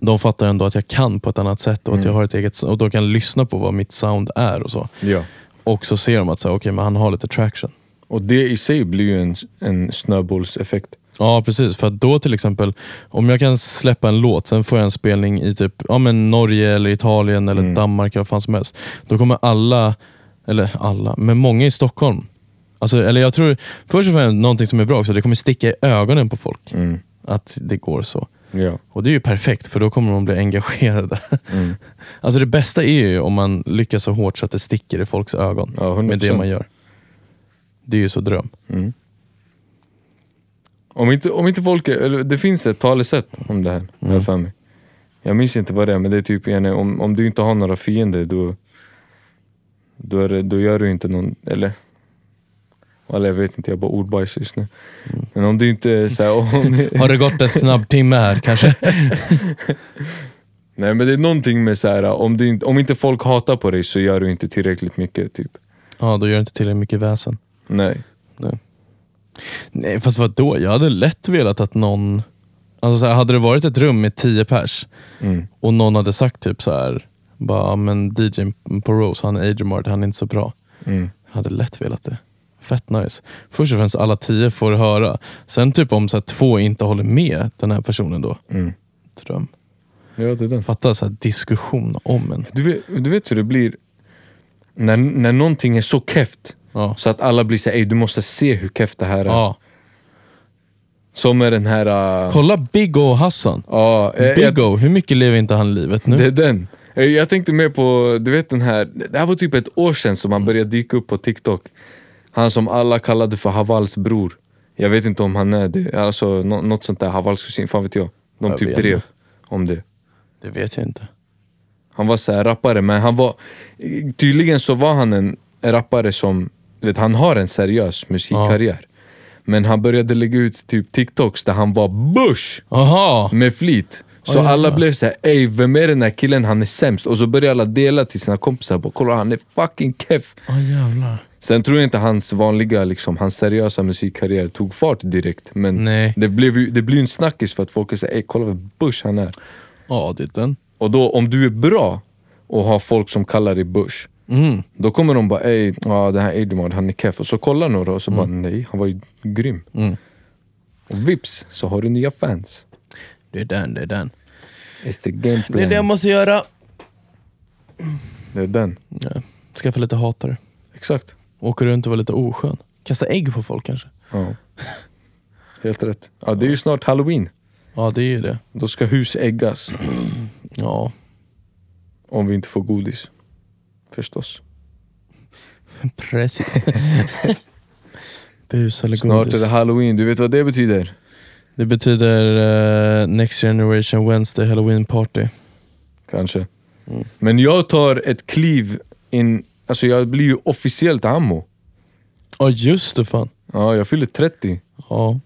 de fattar ändå att jag kan på ett annat sätt och att jag har ett eget och de kan lyssna på vad mitt sound är och så. Ja. Och så ser de att så här, okej, men han har lite traction. Och det i sig blir ju en, en snöbollseffekt. Ja precis, för att då till exempel, om jag kan släppa en låt, sen får jag en spelning i typ ja, men Norge, eller Italien, eller Danmark eller vad fan som helst. Då kommer alla, eller alla, men många i Stockholm. Alltså, eller jag tror, först och främst någonting som är bra också, det kommer sticka i ögonen på folk att det går så. Ja. Och det är ju perfekt, för då kommer de bli engagerade. Alltså det bästa är ju om man lyckas så hårt så att det sticker i folks ögon Ja, 100%. med det man gör. Det är ju så dröm. Om inte, om inte folk, är- eller det finns ett talesätt om det här, har jag för mig. Jag minns inte vad det är, men det är typ gärna, om, om du inte har några fiender då, då, är det, då gör du inte någon, eller? Eller jag vet inte, jag bara ordbajs just nu. Men om du inte är såhär, om, du- Har det gått en snabb timme här kanske? nej men det är någonting med såhär, om, du inte- om inte folk hatar på dig så gör du inte tillräckligt mycket typ. Ja, då gör det inte tillräckligt mycket väsen. Nej. Nej, fast då? Jag hade lätt velat att någon... Alltså så här, hade det varit ett rum med tio pers Mm. och någon hade sagt typ så här, bara, "Ja, men DJ på Rose, han är Agemart, han är inte så bra. Mm. Jag hade lätt velat det. Fett nice. Först och främst alla tio får höra. Sen typ om så här, två inte håller med den här personen då. Mm. Dröm. Ja, det är den. Fatta så här, diskussion om en. Du vet, du vet hur det blir när, när någonting är så keft Ja. så att alla blir såhär, "Ey, du måste se hur keft det här är. ja. Som med den här... Uh, Kolla Big O och Hassan. ja, eh, jag, Big O, hur mycket lever inte han livet nu? det är den. Eh, Jag tänkte mer på, du vet den här, det här var typ ett år sedan som Mm. han började dyka upp på TikTok. Han som alla kallade för Havals bror. Jag vet inte om han är det, alltså nå- något sånt där, Havals kusin, fan vet jag. De Jag typ vet inte. drev om det. det vet jag inte. Han var så här rappare, men han var... Tydligen så var han en rappare som... du Vet, han har en seriös musikkarriär. Men han började lägga ut typ TikToks där han var bush! Aha! med flit. Så Ja, ja, alla ja. blev såhär, ey vem är den här killen, han är sämst. Och så började alla dela till sina kompisar, bara, kolla han är fucking keff. Ja jävlar. Sen tror jag inte hans vanliga, liksom, hans seriösa musikkarriär tog fart direkt. Men Nej. det blev ju det blir ju en snackis för att folk är såhär, ey kolla vad Bush han är. Ja, det är den. Och då om du är bra och har folk som kallar dig Bush, Mm. då kommer de bara, ey ja, den här Ademard han är keff. Och så kollar några och så bara, nej han var ju grym. Mm. Och vips så har du nya fans. Det är den, det är den. It's the game plan. måste göra. det är den. Ja. Skaffa lite hatare. Exakt. Åker runt och vara lite oskön. Kasta ägg på folk kanske. Ja. Helt rätt. Ja, det är ju snart halloween. Ja, det är ju det. Då ska hus äggas. Ja, Om vi inte får godis. Förstås. precis. Bus eller Snart godis. är det halloween. Du vet vad det betyder? Det betyder eh, Next Generation Wednesday Halloween Party. Kanske. Men jag tar ett kliv in. Alltså jag blir ju officiellt ammo. Ja, just det fan. Ja, jag fyller 30. Ja.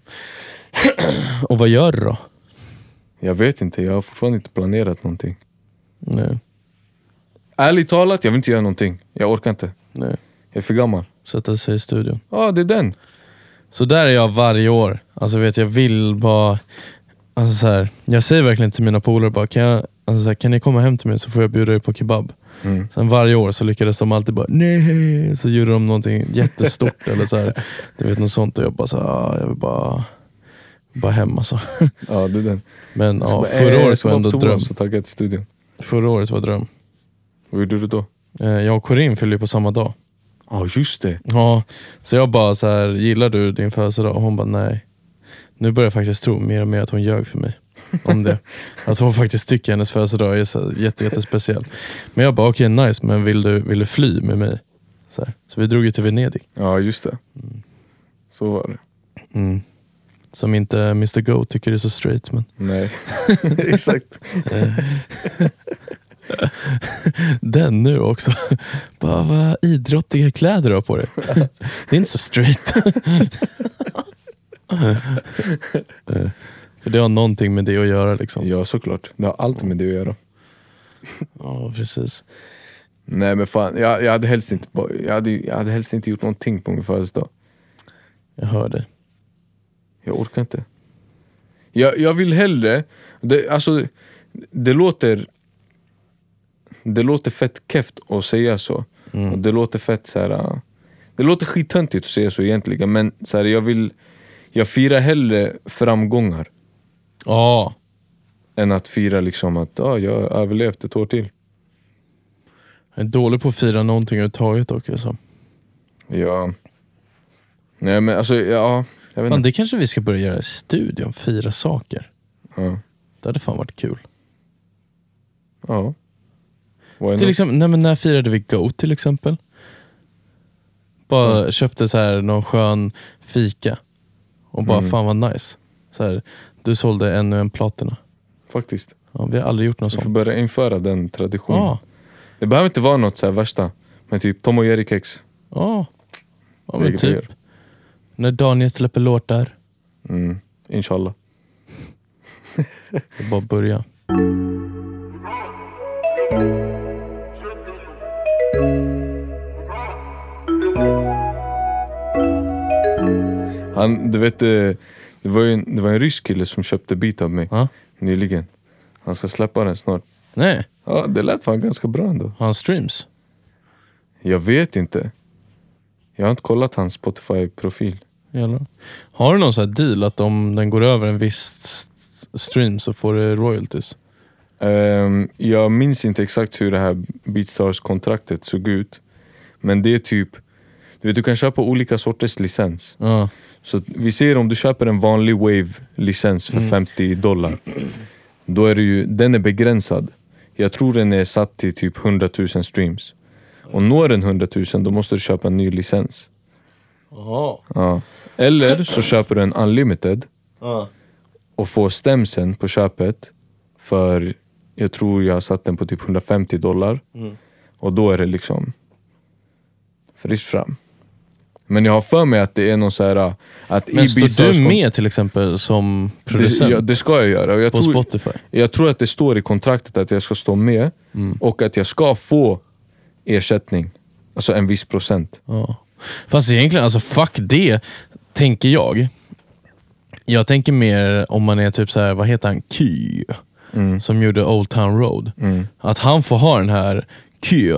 och vad gör du då? Jag vet inte. Jag har fortfarande inte planerat någonting. Nej, Ärligt talat, jag vill inte göra någonting. Jag orkar inte. nej. Jag är för gammal. Sätta sig i studion. Ja, det är den. Så där är jag varje år. Alltså vet jag vill bara... Alltså så här, jag säger verkligen till mina polare bara, kan, jag, alltså så här, kan ni komma hem till mig så får jag bjuda er på kebab. Mm. Sen varje år så lyckades de alltid bara nej, så gjorde de någonting jättestort eller så här, du vet något sånt och jag bara så här, "Ah, jag vill bara, bara hem alltså. Ja, det är den. Men Så ja, bara, eh, förra jag året ska var bara ändå på toa, dröm. Så tackar jag till studion. Förra året var dröm. Vad gjorde du då? Eh, Jag och Corinne fyllde ju på samma dag. Ja, just det. Ja, så jag bara så här, gillar du din födelsedag? Och hon bara nej. Nu börjar jag faktiskt tro mer och mer att hon ljög för mig om det. att hon faktiskt tycker hennes födelsedag är så här, jätte, jättespeciell. Men jag bara okej nice, men vill du, vill du fly med mig? Så, här. så vi drog ju till Venedig. Ja, just det. Så var det. Som inte Mr Go tycker är så straight men. Nej, exakt. Den nu också. Bara, vad idrottiga kläder du har på dig. Det är inte så straight. För det har någonting med det att göra liksom. Ja, såklart. Det har allt med det att göra. Ja, precis. Nej men fan, jag, jag, hade, helst inte, bo- jag, hade, jag hade helst inte gjort någonting på min födelsedag. Jag hör dig. Jag orkar inte. Jag, jag vill hellre, det, alltså det låter Det låter fett keft att säga så. Mm. Och det låter fett så här. äh, Det låter skittöntigt att säga så egentligen men så här, jag vill Jag firar hellre framgångar Ja, än att fira liksom att ah, jag har överlevt ett år till. jag är dålig på att fira någonting överhuvudtaget dock. Alltså. Ja. Nej men alltså ja, jag vet Fan, inte. det kanske vi ska börja göra i studion. Fira saker. Ja. Det hade fan varit kul. ja. Why Till not? exempel, nej, men när firade vi Go till exempel? Bara köpte så här någon skön fika och bara Mm. fan vad nice. Så här, du sålde ännu en platina. Faktiskt. Ja, vi har aldrig gjort något Vi får sånt. börja införa den traditionen. Ja, Det behöver inte vara något så här värsta, men typ Tom och Jerry-kex. ja. ja men Vilket vi typ. gör. När Daniel släpper låtar, Mm. Inshallah. det är bara att börja. Han, du vet, eh, det var, ju en, det var en rysk kille som köpte beat av mig Ja. nyligen. Han ska släppa den snart. Nej, Ja, det lät fan ganska bra ändå. har han streams? Jag vet inte. Jag har inte kollat hans Spotify-profil. Jävlar. Har du någon sån här deal att om den går över en viss s- stream så får du royalties? Ehm, jag minns inte exakt hur det här Beatstars-kontraktet såg ut. Men det är typ... Du vet, du kan köpa olika sorters licens. Ja. Så att vi ser om du köper en vanlig Wave-licens Mm. för 50 dollar. Då är det ju, den är begränsad. Jag tror den är satt till typ 100 000 streams. Och når den 100 000 då måste du köpa en ny licens. Ja. Eller så köper du en unlimited Ja. och får stemsen på köpet för, jag tror jag har satt den på typ 150 dollar. Mm. Och då är det liksom fritt fram. Men jag har för mig att det är någon så här att Men i står Beatstars- du med till exempel som producent Det, ja, det ska jag göra. Och Jag på tror, Spotify? jag tror att det står i kontraktet att jag ska stå med och att jag ska få ersättning. Alltså en viss procent. Ja. Fast egentligen, alltså fuck det, tänker jag. Jag tänker mer om man är typ så här, vad heter han, Ky, Mm. som gjorde Old Town Road. Att han får ha den här Ky,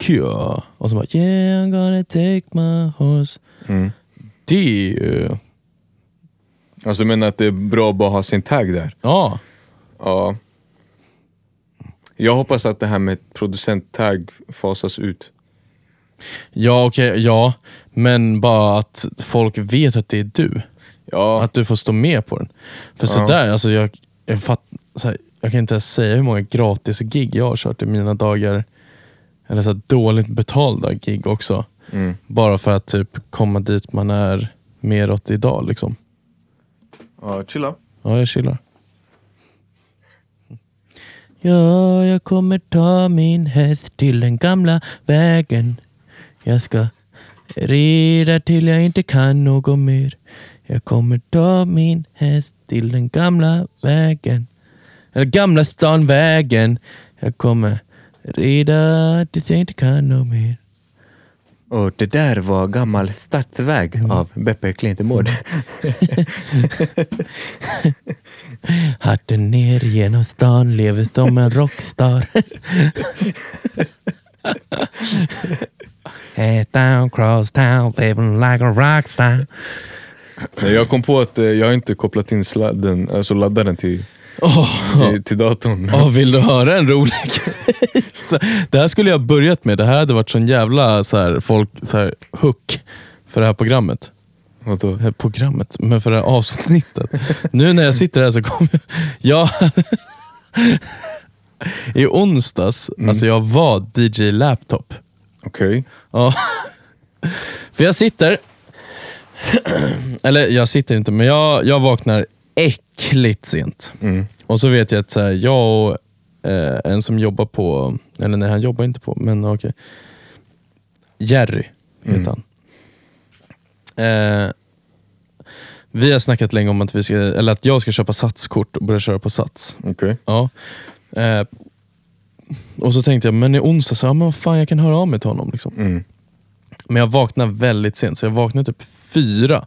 Ky, och så bara yeah I'm gonna take my horse. Mm. Det är ju, Alltså du menar att det är bra att bara ha sin tag där? ja, Ja. Jag hoppas att det här med producenttag fasas ut. ja okej, ja. Men bara att folk vet att det är du. Ja, Att du får stå med på den. För sådär, alltså jag, jag, fatt, så här, jag kan inte ens säga hur många gratis gig jag har kört i mina dagar. Eller så här, dåligt betalda gig också. Mm. Bara för att typ komma dit man är meråt idag. Liksom. ja chilla. Ja, jag chillar. Ja, jag kommer ta min häst till den gamla vägen. Jag ska rida till jag inte kan något mer. Jag kommer ta min häst till den gamla vägen. Eller gamla stan vägen. Jag kommer rida tills jag inte kan något mer. Och det där var gammal stadsväg av Beppe Klintemord. Hatten ner genom stan, lever som en rockstar. Head down, cross town, living like a rockstar. Nej, jag kom på att eh, jag har inte kopplat in sladden, alltså laddaren till, till, till datorn. Åh, vill du höra en rolig grej? Så, Det här skulle jag ha börjat med. Det här hade varit sån jävla så här, folk, så här, hook för det här programmet. Vadå? Det här programmet, men för det här avsnittet. nu när jag sitter här så kommer jag... Ja. I onsdags, alltså jag var DJ Laptop. Okej. Ja. För jag sitter, eller jag sitter inte, men jag, jag vaknar äckligt sent. Och så vet jag att så här, jag och eh, en som jobbar på, eller nej han jobbar inte på, men okej. Jerry heter han. Eh, vi har snackat länge om att, vi ska, eller att jag ska köpa satskort och börja köra på sats. Okej. Ja. Eh, och så tänkte jag, men i onsdag så, ja, men vad fan jag kan höra av mig till honom. Liksom. Mm. Men jag vaknar väldigt sent, så jag vaknar typ fyra.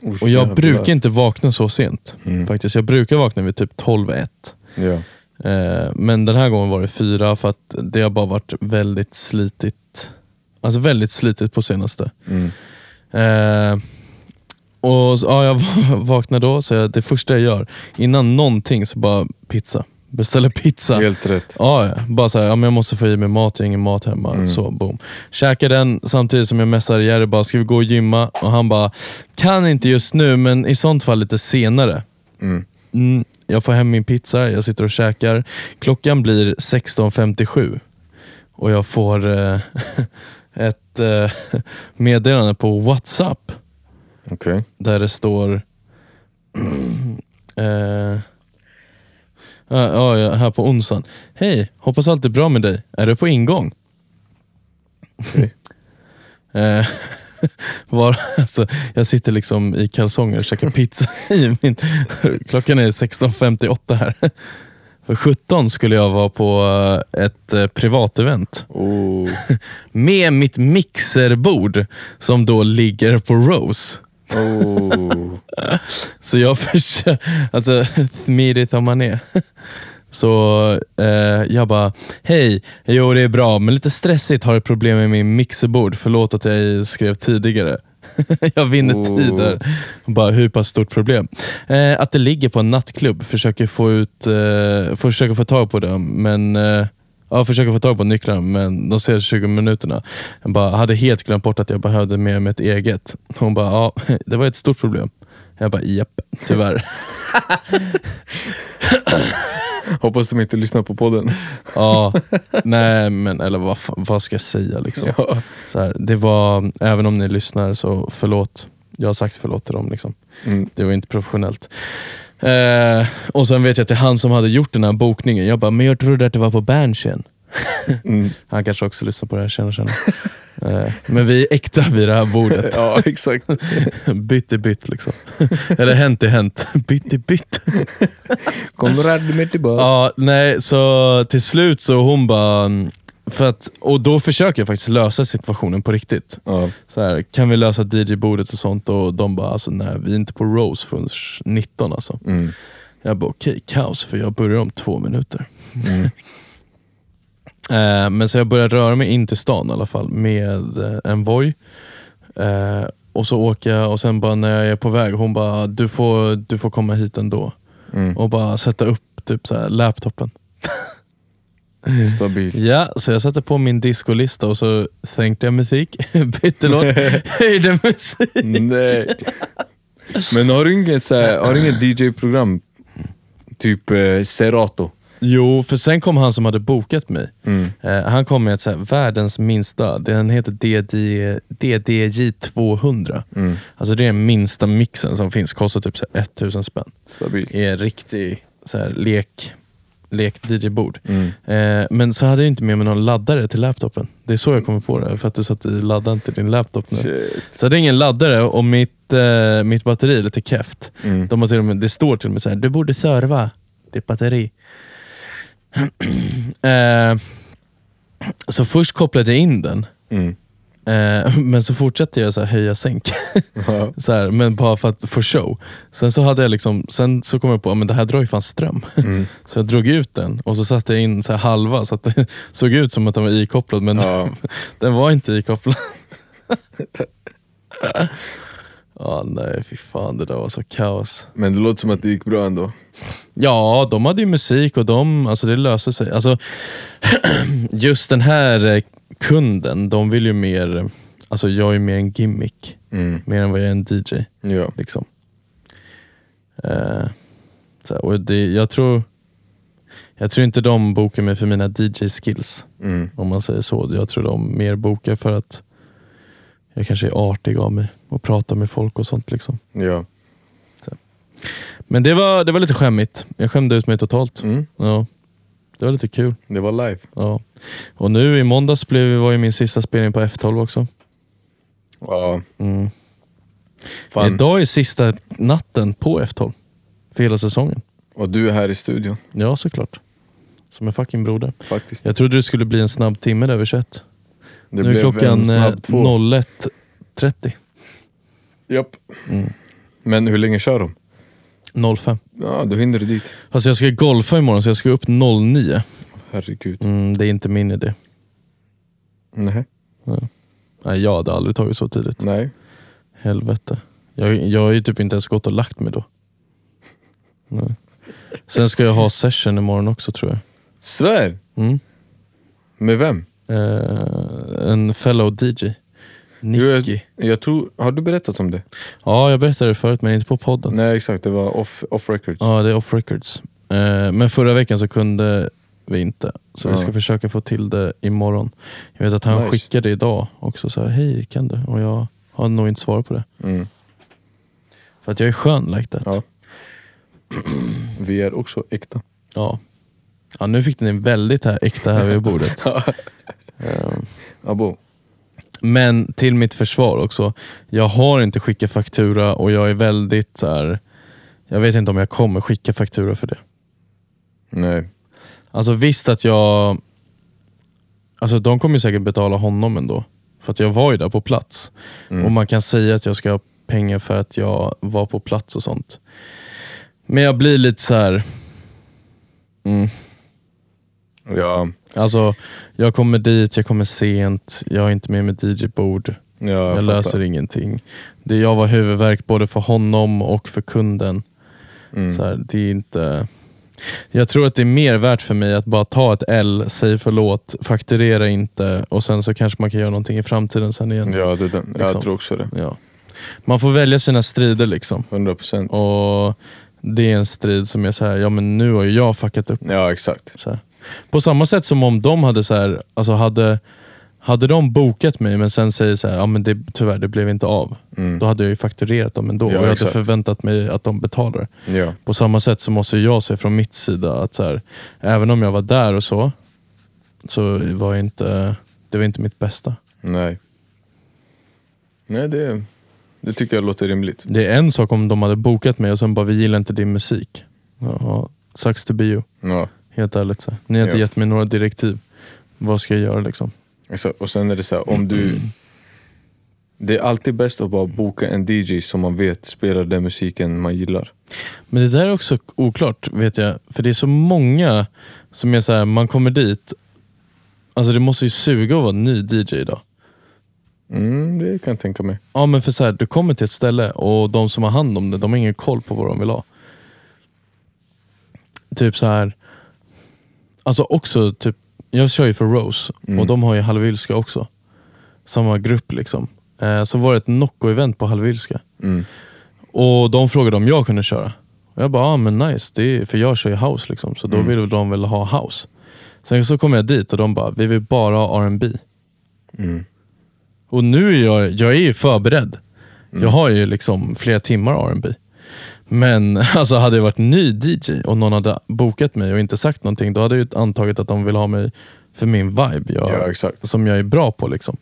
Oh, Och jag jävlar. brukar inte vakna så sent. Mm. Faktiskt. Jag brukar vakna vid typ 12-1. Ja. Eh, men den här gången var det fyra för att det har bara varit väldigt slitigt. Alltså väldigt slitigt på senaste. Mm. Eh, och så, ja, jag vaknar då, så jag, det första jag gör, innan någonting så bara pizza. Beställer pizza. Helt rätt. Ja, ja. bara såhär, ja, men jag måste få i mig mat, jag har ingen mat hemma. Så, boom. Käkar den samtidigt som jag messar Jerry bara, ska vi gå och gymma? Och han bara, kan inte just nu, men i sånt fall lite senare. Mm. Mm, jag får hem min pizza, jag sitter och käkar. Klockan blir 16.57 och jag får eh, ett eh, meddelande på WhatsApp Okej. där det står... eh, ja, ja, ja, här på onsdagen. Hej, hoppas allt är bra med dig. Är du på ingång? Eh, var, alltså, jag sitter liksom i kalsonger och käkar pizza. I min, klockan är 16.58 här. För 17 skulle jag vara på eh, ett eh, privatevent Oh. med mitt mixerbord som då ligger på Rose. Oh. Så jag försöker, alltså smidigt som man är. Så eh, jag bara, hej, jo det är bra, men lite stressigt har ett problem med min mixerbord. Förlåt att jag skrev tidigare. jag vinner Oh. tid där. Bara, hur pass stort problem? Eh, att det ligger på en nattklubb, försöker få ut, eh, försöker få tag på dem, men eh, Ja, försöker få tag på nycklarna men de ser 20 minuterna. Jag bara, hade helt glömt bort att jag behövde med mig ett eget. Hon bara, ja det var ett stort problem. Jag bara, japp, tyvärr. Hoppas de inte lyssnar på podden. ja, nej men eller vad, fan- vad ska jag säga liksom? Ja. Så här, det var, även om ni lyssnar så förlåt. Jag har sagt förlåt till dem liksom. Mm. Det var inte professionellt. Eh, och sen vet jag att det är han som hade gjort den här bokningen. Jag bara, men jag trodde att det var på Berntsen. Mm. Han kanske också lyssnar på det här, känner känner. Eh, men vi är äkta vid det här bordet. Ja, exakt. bytt är bytt liksom. Eller hänt är hänt. Bytt är bytt. Konrad med tillbaka. Ja, nej, så till slut så hon bara... För att, och då försöker jag faktiskt lösa situationen på riktigt. Ja. Så här, kan vi lösa DJ-bordet och sånt? Och de bara, alltså, nej vi är inte på Rose förrän 19 alltså. Mm. Jag bara, okej, kaos för jag börjar om två minuter. Eh, men så jag började röra mig in till stan i alla fall med eh, en Voi. Eh, och så åker jag och sen bara när jag är på väg, hon bara, du får, du får komma hit ändå. Mm. Och bara sätta upp typ så här, laptopen. Stabilt. Ja, så jag satte på min discolista och så sänkte jag musik, bytte låt, höjde musik. Nej. Men har du inget, så här, har du inget DJ-program? Typ eh, Serato? Jo, för sen kom han som hade bokat mig. Mm. Eh, han kom med ett så här, världens minsta, den heter DD, DDJ 200. Mm. Alltså det är den minsta mixen som finns, kostar typ så här 1000 spänn. Stabilt. Är en riktig så här, lek, lek DJ-bord. Mm. Eh, men så hade jag inte med mig någon laddare till laptopen. Det är så jag kommer på det, för att du satte i laddaren till din laptop nu. Shit. Så jag hade ingen laddare och mitt, eh, mitt batteri är lite keft. Mm. De har till och med, det står till och med så här, du borde serva ditt batteri. eh, så först kopplade jag in den, Mm. eh, men så fortsatte jag så här, höja sänk. Ja. så här, men bara för att få show. Sen så, hade jag liksom, sen så kom jag på att det här drar ju fan ström. Mm. så jag drog ut den och så satte jag in så här halva så att det såg ut som att den var ikopplad men Ja. den var inte ikopplad. Ja, nej fy fan det där var så kaos. Men det låter som att det gick bra ändå. Ja, de hade ju musik och de, alltså det löste sig. Alltså, just den här eh, kunden, de vill ju mer, alltså jag är mer en gimmick, Mm. mer än vad jag är en DJ. Ja. Liksom. Eh, så här, och det, jag, tror, jag tror inte de bokar mig för mina DJ-skills, Mm. om man säger så. Jag tror de mer bokar för att jag kanske är artig av mig och pratar med folk och sånt. Liksom. Ja. Men det var, det var lite skämmigt. Jag skämde ut mig totalt. Mm. Ja. Det var lite kul. Det var live. Ja. Och nu i måndags blev, var ju min sista spelning på F12 också. Ja. Mm. Fan. Idag är sista natten på F12. För hela säsongen. Och du är här i studion Ja, såklart. Som en fucking broder. faktiskt. Jag trodde det skulle bli en snabb timme där vid 21. Det nu är klockan eh, 01.30. Japp. Mm. Men hur länge kör de? 05. Ja, då hinner du dit. Fast jag ska golfa imorgon så jag ska upp 09. Herregud. Mm, det är inte min idé. Nej. Nej, jag hade aldrig tagit så tidigt. Nej. Helvete. Jag, jag har ju typ inte ens gått och lagt mig då. Nej. Sen ska jag ha session imorgon också tror jag. Svär! Mm. Med vem? Eh, en fellow DJ. Jag, Nicky. jag tror... Har du berättat om det? Ja, jag berättade det förut men inte på podden. Nej, exakt. Det var off, off records. Ja, det är off records. Eh, Men förra veckan så kunde vi inte, så vi Ja. ska försöka få till det imorgon. Jag vet att han Nice. skickade idag också, så här, hej kan du? Och jag har nog inte svar på det. Mm. För att jag är skön like that. Ja. Vi är också äkta. Ja. Ja, nu fick ni en väldigt här, äkta här vid bordet. Ehm, Abo. Men till mitt försvar också, jag har inte skickat faktura och jag är väldigt så här. jag vet inte om jag kommer skicka faktura för det. Nej. Alltså visst att jag... Alltså de kommer ju säkert betala honom ändå. För att jag var ju där på plats. Och man kan säga att jag ska ha pengar för att jag var på plats och sånt. Men jag blir lite så här. Mm. Ja. Alltså, jag kommer dit, jag kommer sent, jag är inte med med DJ-bord, Ja, jag, fattar. löser ingenting. Det, jag var huvudvärk både för honom och för kunden. Mm. Så här, det är inte... Jag tror att det är mer värt för mig att bara ta ett L, säg förlåt, fakturera inte och sen så kanske man kan göra någonting i framtiden sen igen. Ja, det, det, Liksom. jag tror också det. Ja. Man får välja sina strider liksom. 100 procent. Och Det är en strid som är så här, ja men nu har ju jag fuckat upp. Ja, exakt. Så här. På samma sätt som om de hade så här, alltså hade, hade de bokat mig men sen säger så här, ja men det, tyvärr det blev inte av. Mm. Då hade jag ju fakturerat dem ändå Ja, och jag hade exakt. förväntat mig att de betalar. Ja. På samma sätt så måste jag se från mitt sida att så här, även om jag var där och så, så var jag inte, det var inte mitt bästa. Nej. Nej, det, det tycker jag låter rimligt. Det är en sak om de hade bokat mig och sen bara, vi gillar inte din musik. Jaha, sucks to be you. Ja. Helt ärligt. Så. här. Ni har inte Ja. gett mig några direktiv. Vad ska jag göra liksom? Exakt. Och sen är det så här, om du... Det är alltid bäst att bara boka en DJ som man vet spelar den musiken man gillar. Men det där är också oklart vet jag. För det är så många som är så här, man kommer dit, alltså det måste ju suga att vara ny DJ idag. Mm, det kan jag tänka mig. Ja men för så här, du kommer till ett ställe och de som har hand om det, de har ingen koll på vad de vill ha. Typ så här Alltså också, typ, jag kör ju för Rose och de har ju Hallwylska också. Samma grupp liksom. Eh, så var det ett Nocco-event på Hallwylska. Mm. Och de frågade om jag kunde köra. Och jag bara, ah, men nice, det är, för jag kör ju house liksom. Så då ville de väl ha house. Sen så kom jag dit och de bara, vi vill bara ha R&B Mm. Och nu är jag, jag är ju förberedd. Jag har ju liksom flera timmar R&B Men alltså hade jag varit ny DJ och någon hade bokat mig och inte sagt någonting, då hade jag ju antagit att de vill ha mig för min vibe jag, Ja, exakt. som jag är bra på. Liksom.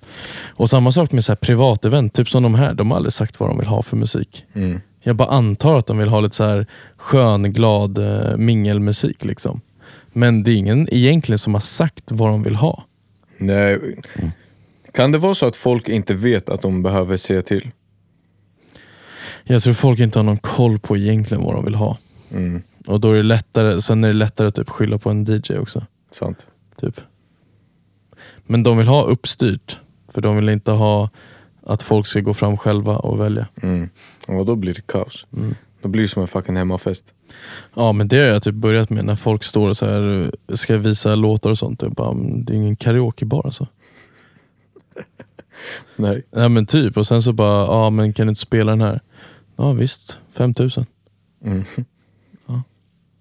Och samma sak med så här privatevent, typ som de här, de har aldrig sagt vad de vill ha för musik. Mm. Jag bara antar att de vill ha lite så här skön, glad eh, mingelmusik. Liksom. Men det är ingen egentligen som har sagt vad de vill ha. Nej. Kan det vara så att folk inte vet att de behöver se till? Jag tror folk inte har någon koll på egentligen vad de vill ha. Mm. Och då är det lättare, sen är det lättare att typ skylla på en DJ också. Sant. Typ. Men de vill ha uppstyrt, för de vill inte ha att folk ska gå fram själva och välja. Mm. Och då blir det kaos. Då blir det som en fucking hemmafest. Ja men det har jag typ börjat med när folk står och så här, ska visa låtar och sånt. Jag bara, "Men det är ingen karaokebar alltså. Nej. Nej men typ, och sen så bara, ja men kan du inte spela den här? Ja visst, 5000. Mm.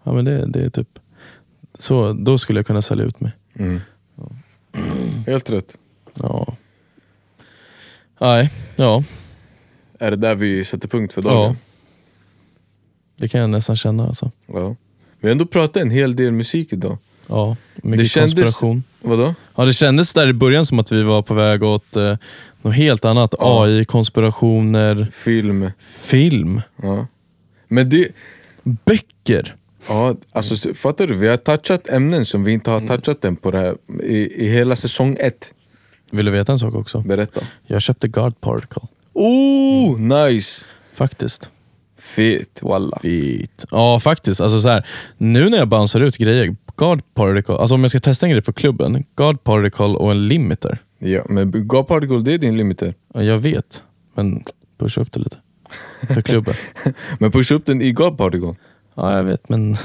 Ja men det, det är typ, så då skulle jag kunna sälja ut mig. Mm. Helt rätt. Ja. Nej, ja. Är det där vi sätter punkt för ja. dagen? Det kan jag nästan känna alltså. Ja. Vi har ändå pratat en hel del musik idag. Ja, mycket Det kändes- konspiration. Vadå? Ja, det kändes där i början som att vi var på väg åt eh, något helt annat. Ja. AI, konspirationer, Film. film, Ja. Men det... böcker. Ja, alltså s- fattar du? Vi har touchat ämnen som vi inte har touchat än på det här, i, i hela säsong ett. Vill du veta en sak också? Berätta. Jag köpte God Particle. Oh, nice! Faktiskt. Fet, walla. Fint. Ja, faktiskt. Alltså så här, nu när jag bouncear ut grejer, God Particle, alltså om jag ska testa en grej på klubben, God Particle och en limiter. Ja, men God Particle, det är din limiter. Ja, jag vet, men pusha upp det lite. För klubben. Men pusha upp den i God Particle. Ja, jag vet, men...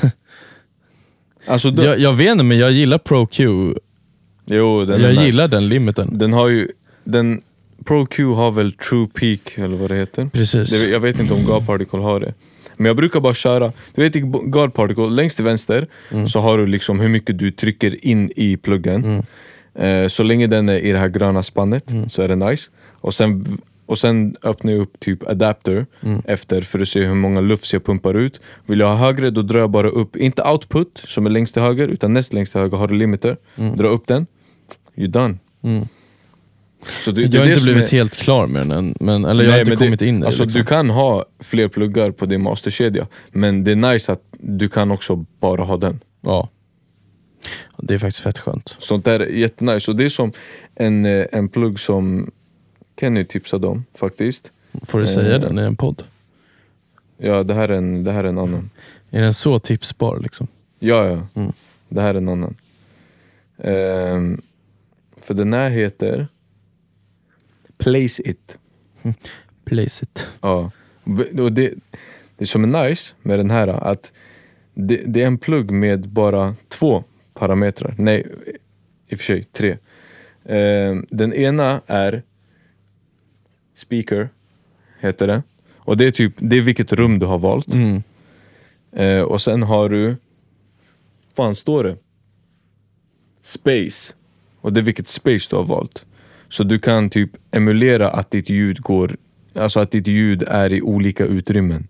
Alltså, den, Jag, jag vet inte, men jag gillar Pro Q. jo, den är Jag nice. gillar den limiten. Den har ju... Den, Pro Q har väl True Peak, eller vad det heter? Precis. Det, jag vet inte om God Particle har det. Men jag brukar bara köra, du vet i God Particle, längst till vänster så har du liksom hur mycket du trycker in i pluggen. Eh, så länge den är i det här gröna spannet så är det nice. Och sen, och sen öppnar jag upp typ adapter efter för att se hur många lufts jag pumpar ut. Vill jag ha högre då drar jag bara upp, inte output som är längst till höger utan näst längst till höger har du limiter. Dra upp den, you're done. Så det- det är Mm. jag har det inte som blivit är- helt klar med den än, men, eller jag har inte men kommit det, in i det. Alltså liksom. Du kan ha fler pluggar på din masterkedja, men det är nice att du kan också bara ha den. Ja. Det är faktiskt fett skönt. Sånt där är jättenice. Och det är som en, eh, en plugg som Kenny tipsade om faktiskt. Får Eh. du säga den i en podd? Ja, det här är en, det här är en annan. Är den så tipsbar liksom? Ja, ja. Mm. Det här är en annan. Ehm, för den här heter Place It. Place it. Ja. V- Och det, det som är nice med den här att det, det är en plugg med bara två parametrar. Nej, i och för sig tre. Eh, den ena är speaker, heter det. Och det är typ det är vilket rum du har valt. Mm. Eh, och sen har du, fan står det? Space. Och det är vilket space du har valt. Så du kan typ emulera att ditt ljud går, alltså att ditt ljud är i olika utrymmen.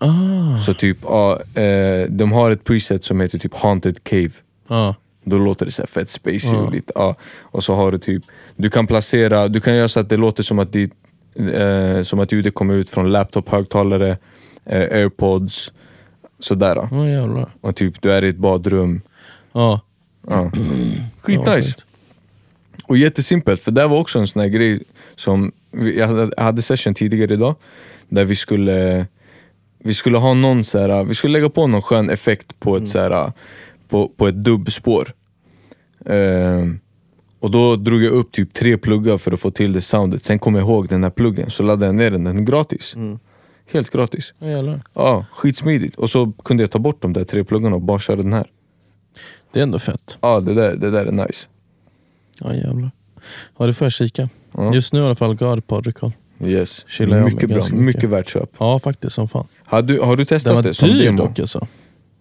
Ah. Så typ, ja, eh, de har ett preset som heter typ Haunted Cave. Ja. Då låter det så här fett spacey Ja. och lite, ja. Och så har du typ, du kan placera, du kan göra så att det låter som att, ditt, eh, som att ljudet kommer ut från laptop-högtalare, eh, airpods, sådär. Då. Vad jävlar. Och typ du är i ett badrum. Ja. Ja. Ja, Skitnice! sjukt. Och jättesimpelt, för det var också en sån här grej som vi, jag hade- jag hade session tidigare idag där vi skulle vi skulle ha någon så här, vi skulle lägga på någon skön effekt på ett, så här, på, på ett dubbspår. Ehm, och då drog jag upp typ tre pluggar för att få till det soundet. Sen kom jag ihåg den här pluggen, så laddade jag ner den. Den är gratis. Helt gratis. Vad jävlar. Ja, skitsmidigt. Och så kunde jag ta bort de där tre pluggarna och bara köra den här. Det är ändå fett. Ja, det där, det där är nice. Ja jävlar. Ja det får jag kika. Ja. Just nu i alla fall God Particle. Yes. Chillar jag med mycket bra, ganska mycket. mycket värt köp. Ja faktiskt som fan. Har du, har du Den testat var det som dyr demo? dock alltså.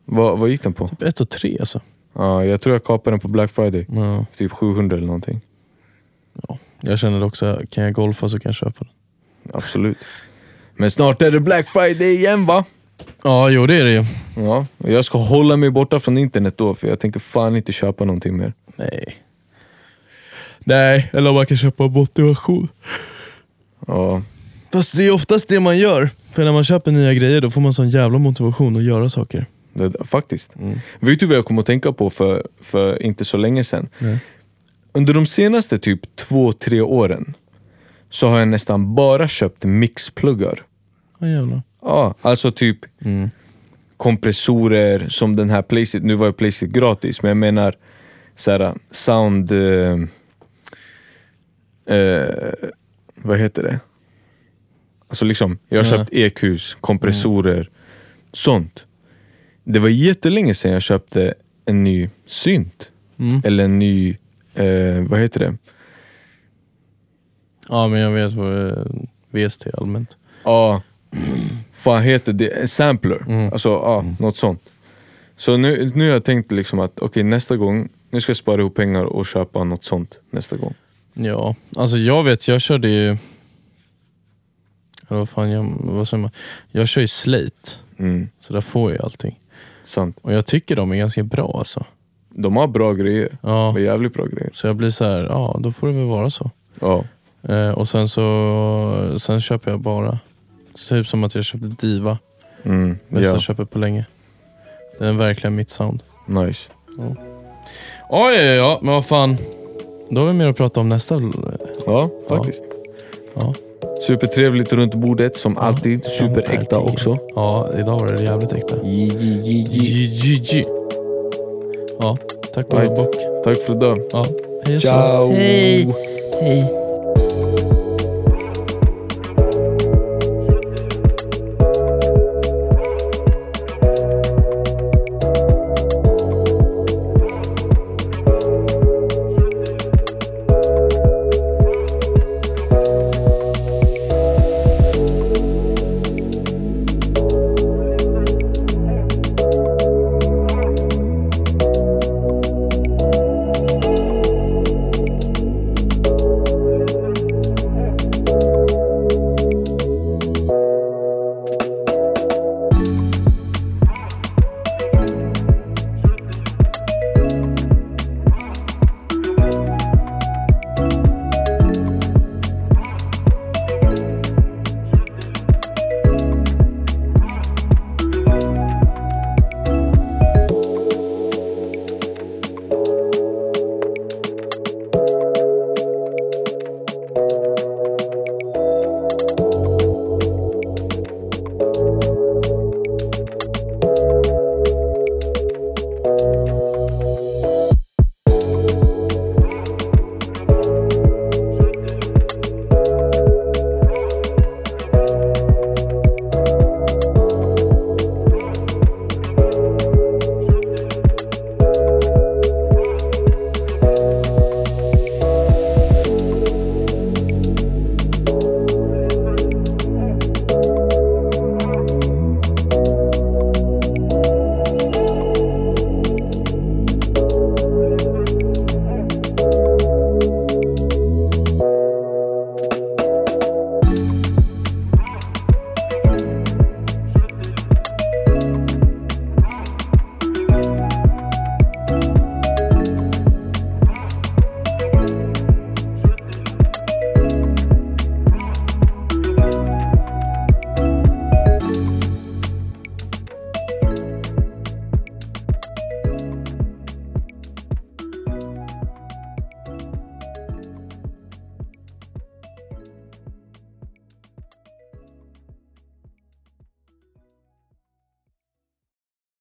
Vad, vad gick den på? Typ 1 och 3 alltså. Ja, jag tror jag kapade den på Black Friday. Ja. För typ 700 eller någonting. Jag känner också, kan jag golfa så kan jag köpa den. Absolut. Men snart är det Black Friday igen va? Ja jo det är det ju. Ja, och jag ska hålla mig borta från internet då för jag tänker fan inte köpa någonting mer. Nej. Nej, eller om man kan köpa motivation. Ja, Fast det är oftast det man gör. För när man köper nya grejer då får man sån jävla motivation att göra saker. det, faktiskt. Mm. Vet du vad jag kom att tänka på för, för inte så länge sedan? Under de senaste typ två, tre åren så har jag nästan bara köpt mixpluggar. Ja jävlar. Ja, alltså typ Mm. kompressorer som den här Placeit. Nu var ju Placeit gratis, men jag menar så här, sound... Eh, eh, vad heter det? Alltså liksom, jag har Ja. köpt EQs, kompressorer, sånt. Det var jättelänge sedan jag köpte en ny synt. Eller en ny, eh, vad heter det? Ja men jag vet vad eh, VST allmänt. Ja, fan heter det? Sampler. Mm. Alltså, ja, något sånt. Så nu, nu har jag tänkt liksom att okej, nästa gång, nu ska jag spara ihop pengar och köpa något sånt nästa gång. Ja, alltså jag vet, jag körde ju... Eller vad fan, jag, vad säger man? Jag kör ju Slate, Mm, så där får jag allting. sant. Och jag tycker de är ganska bra alltså. de har bra grejer. Ja. De har jävligt bra grejer. Så jag blir så här, ja då får det väl vara så. Ja. Eh, och sen så sen köper jag bara. Typ som att jag köpte Diva. Mm. Bästa ja. köpet på länge. Det är verkligen mitt sound. Nice. Oj, ja, ja, men vad fan. Då har vi mer att prata om nästa. eh, Ja, faktiskt. Ja. Supertrevligt runt bordet som alltid. Superäkta också. Ja, idag var det jävligt äkta. Ji, ji, ji, ji. GG. Ja, tack och Right. bock. Tack för idag. Ja, hej och så. Ciao! Hej. Hej.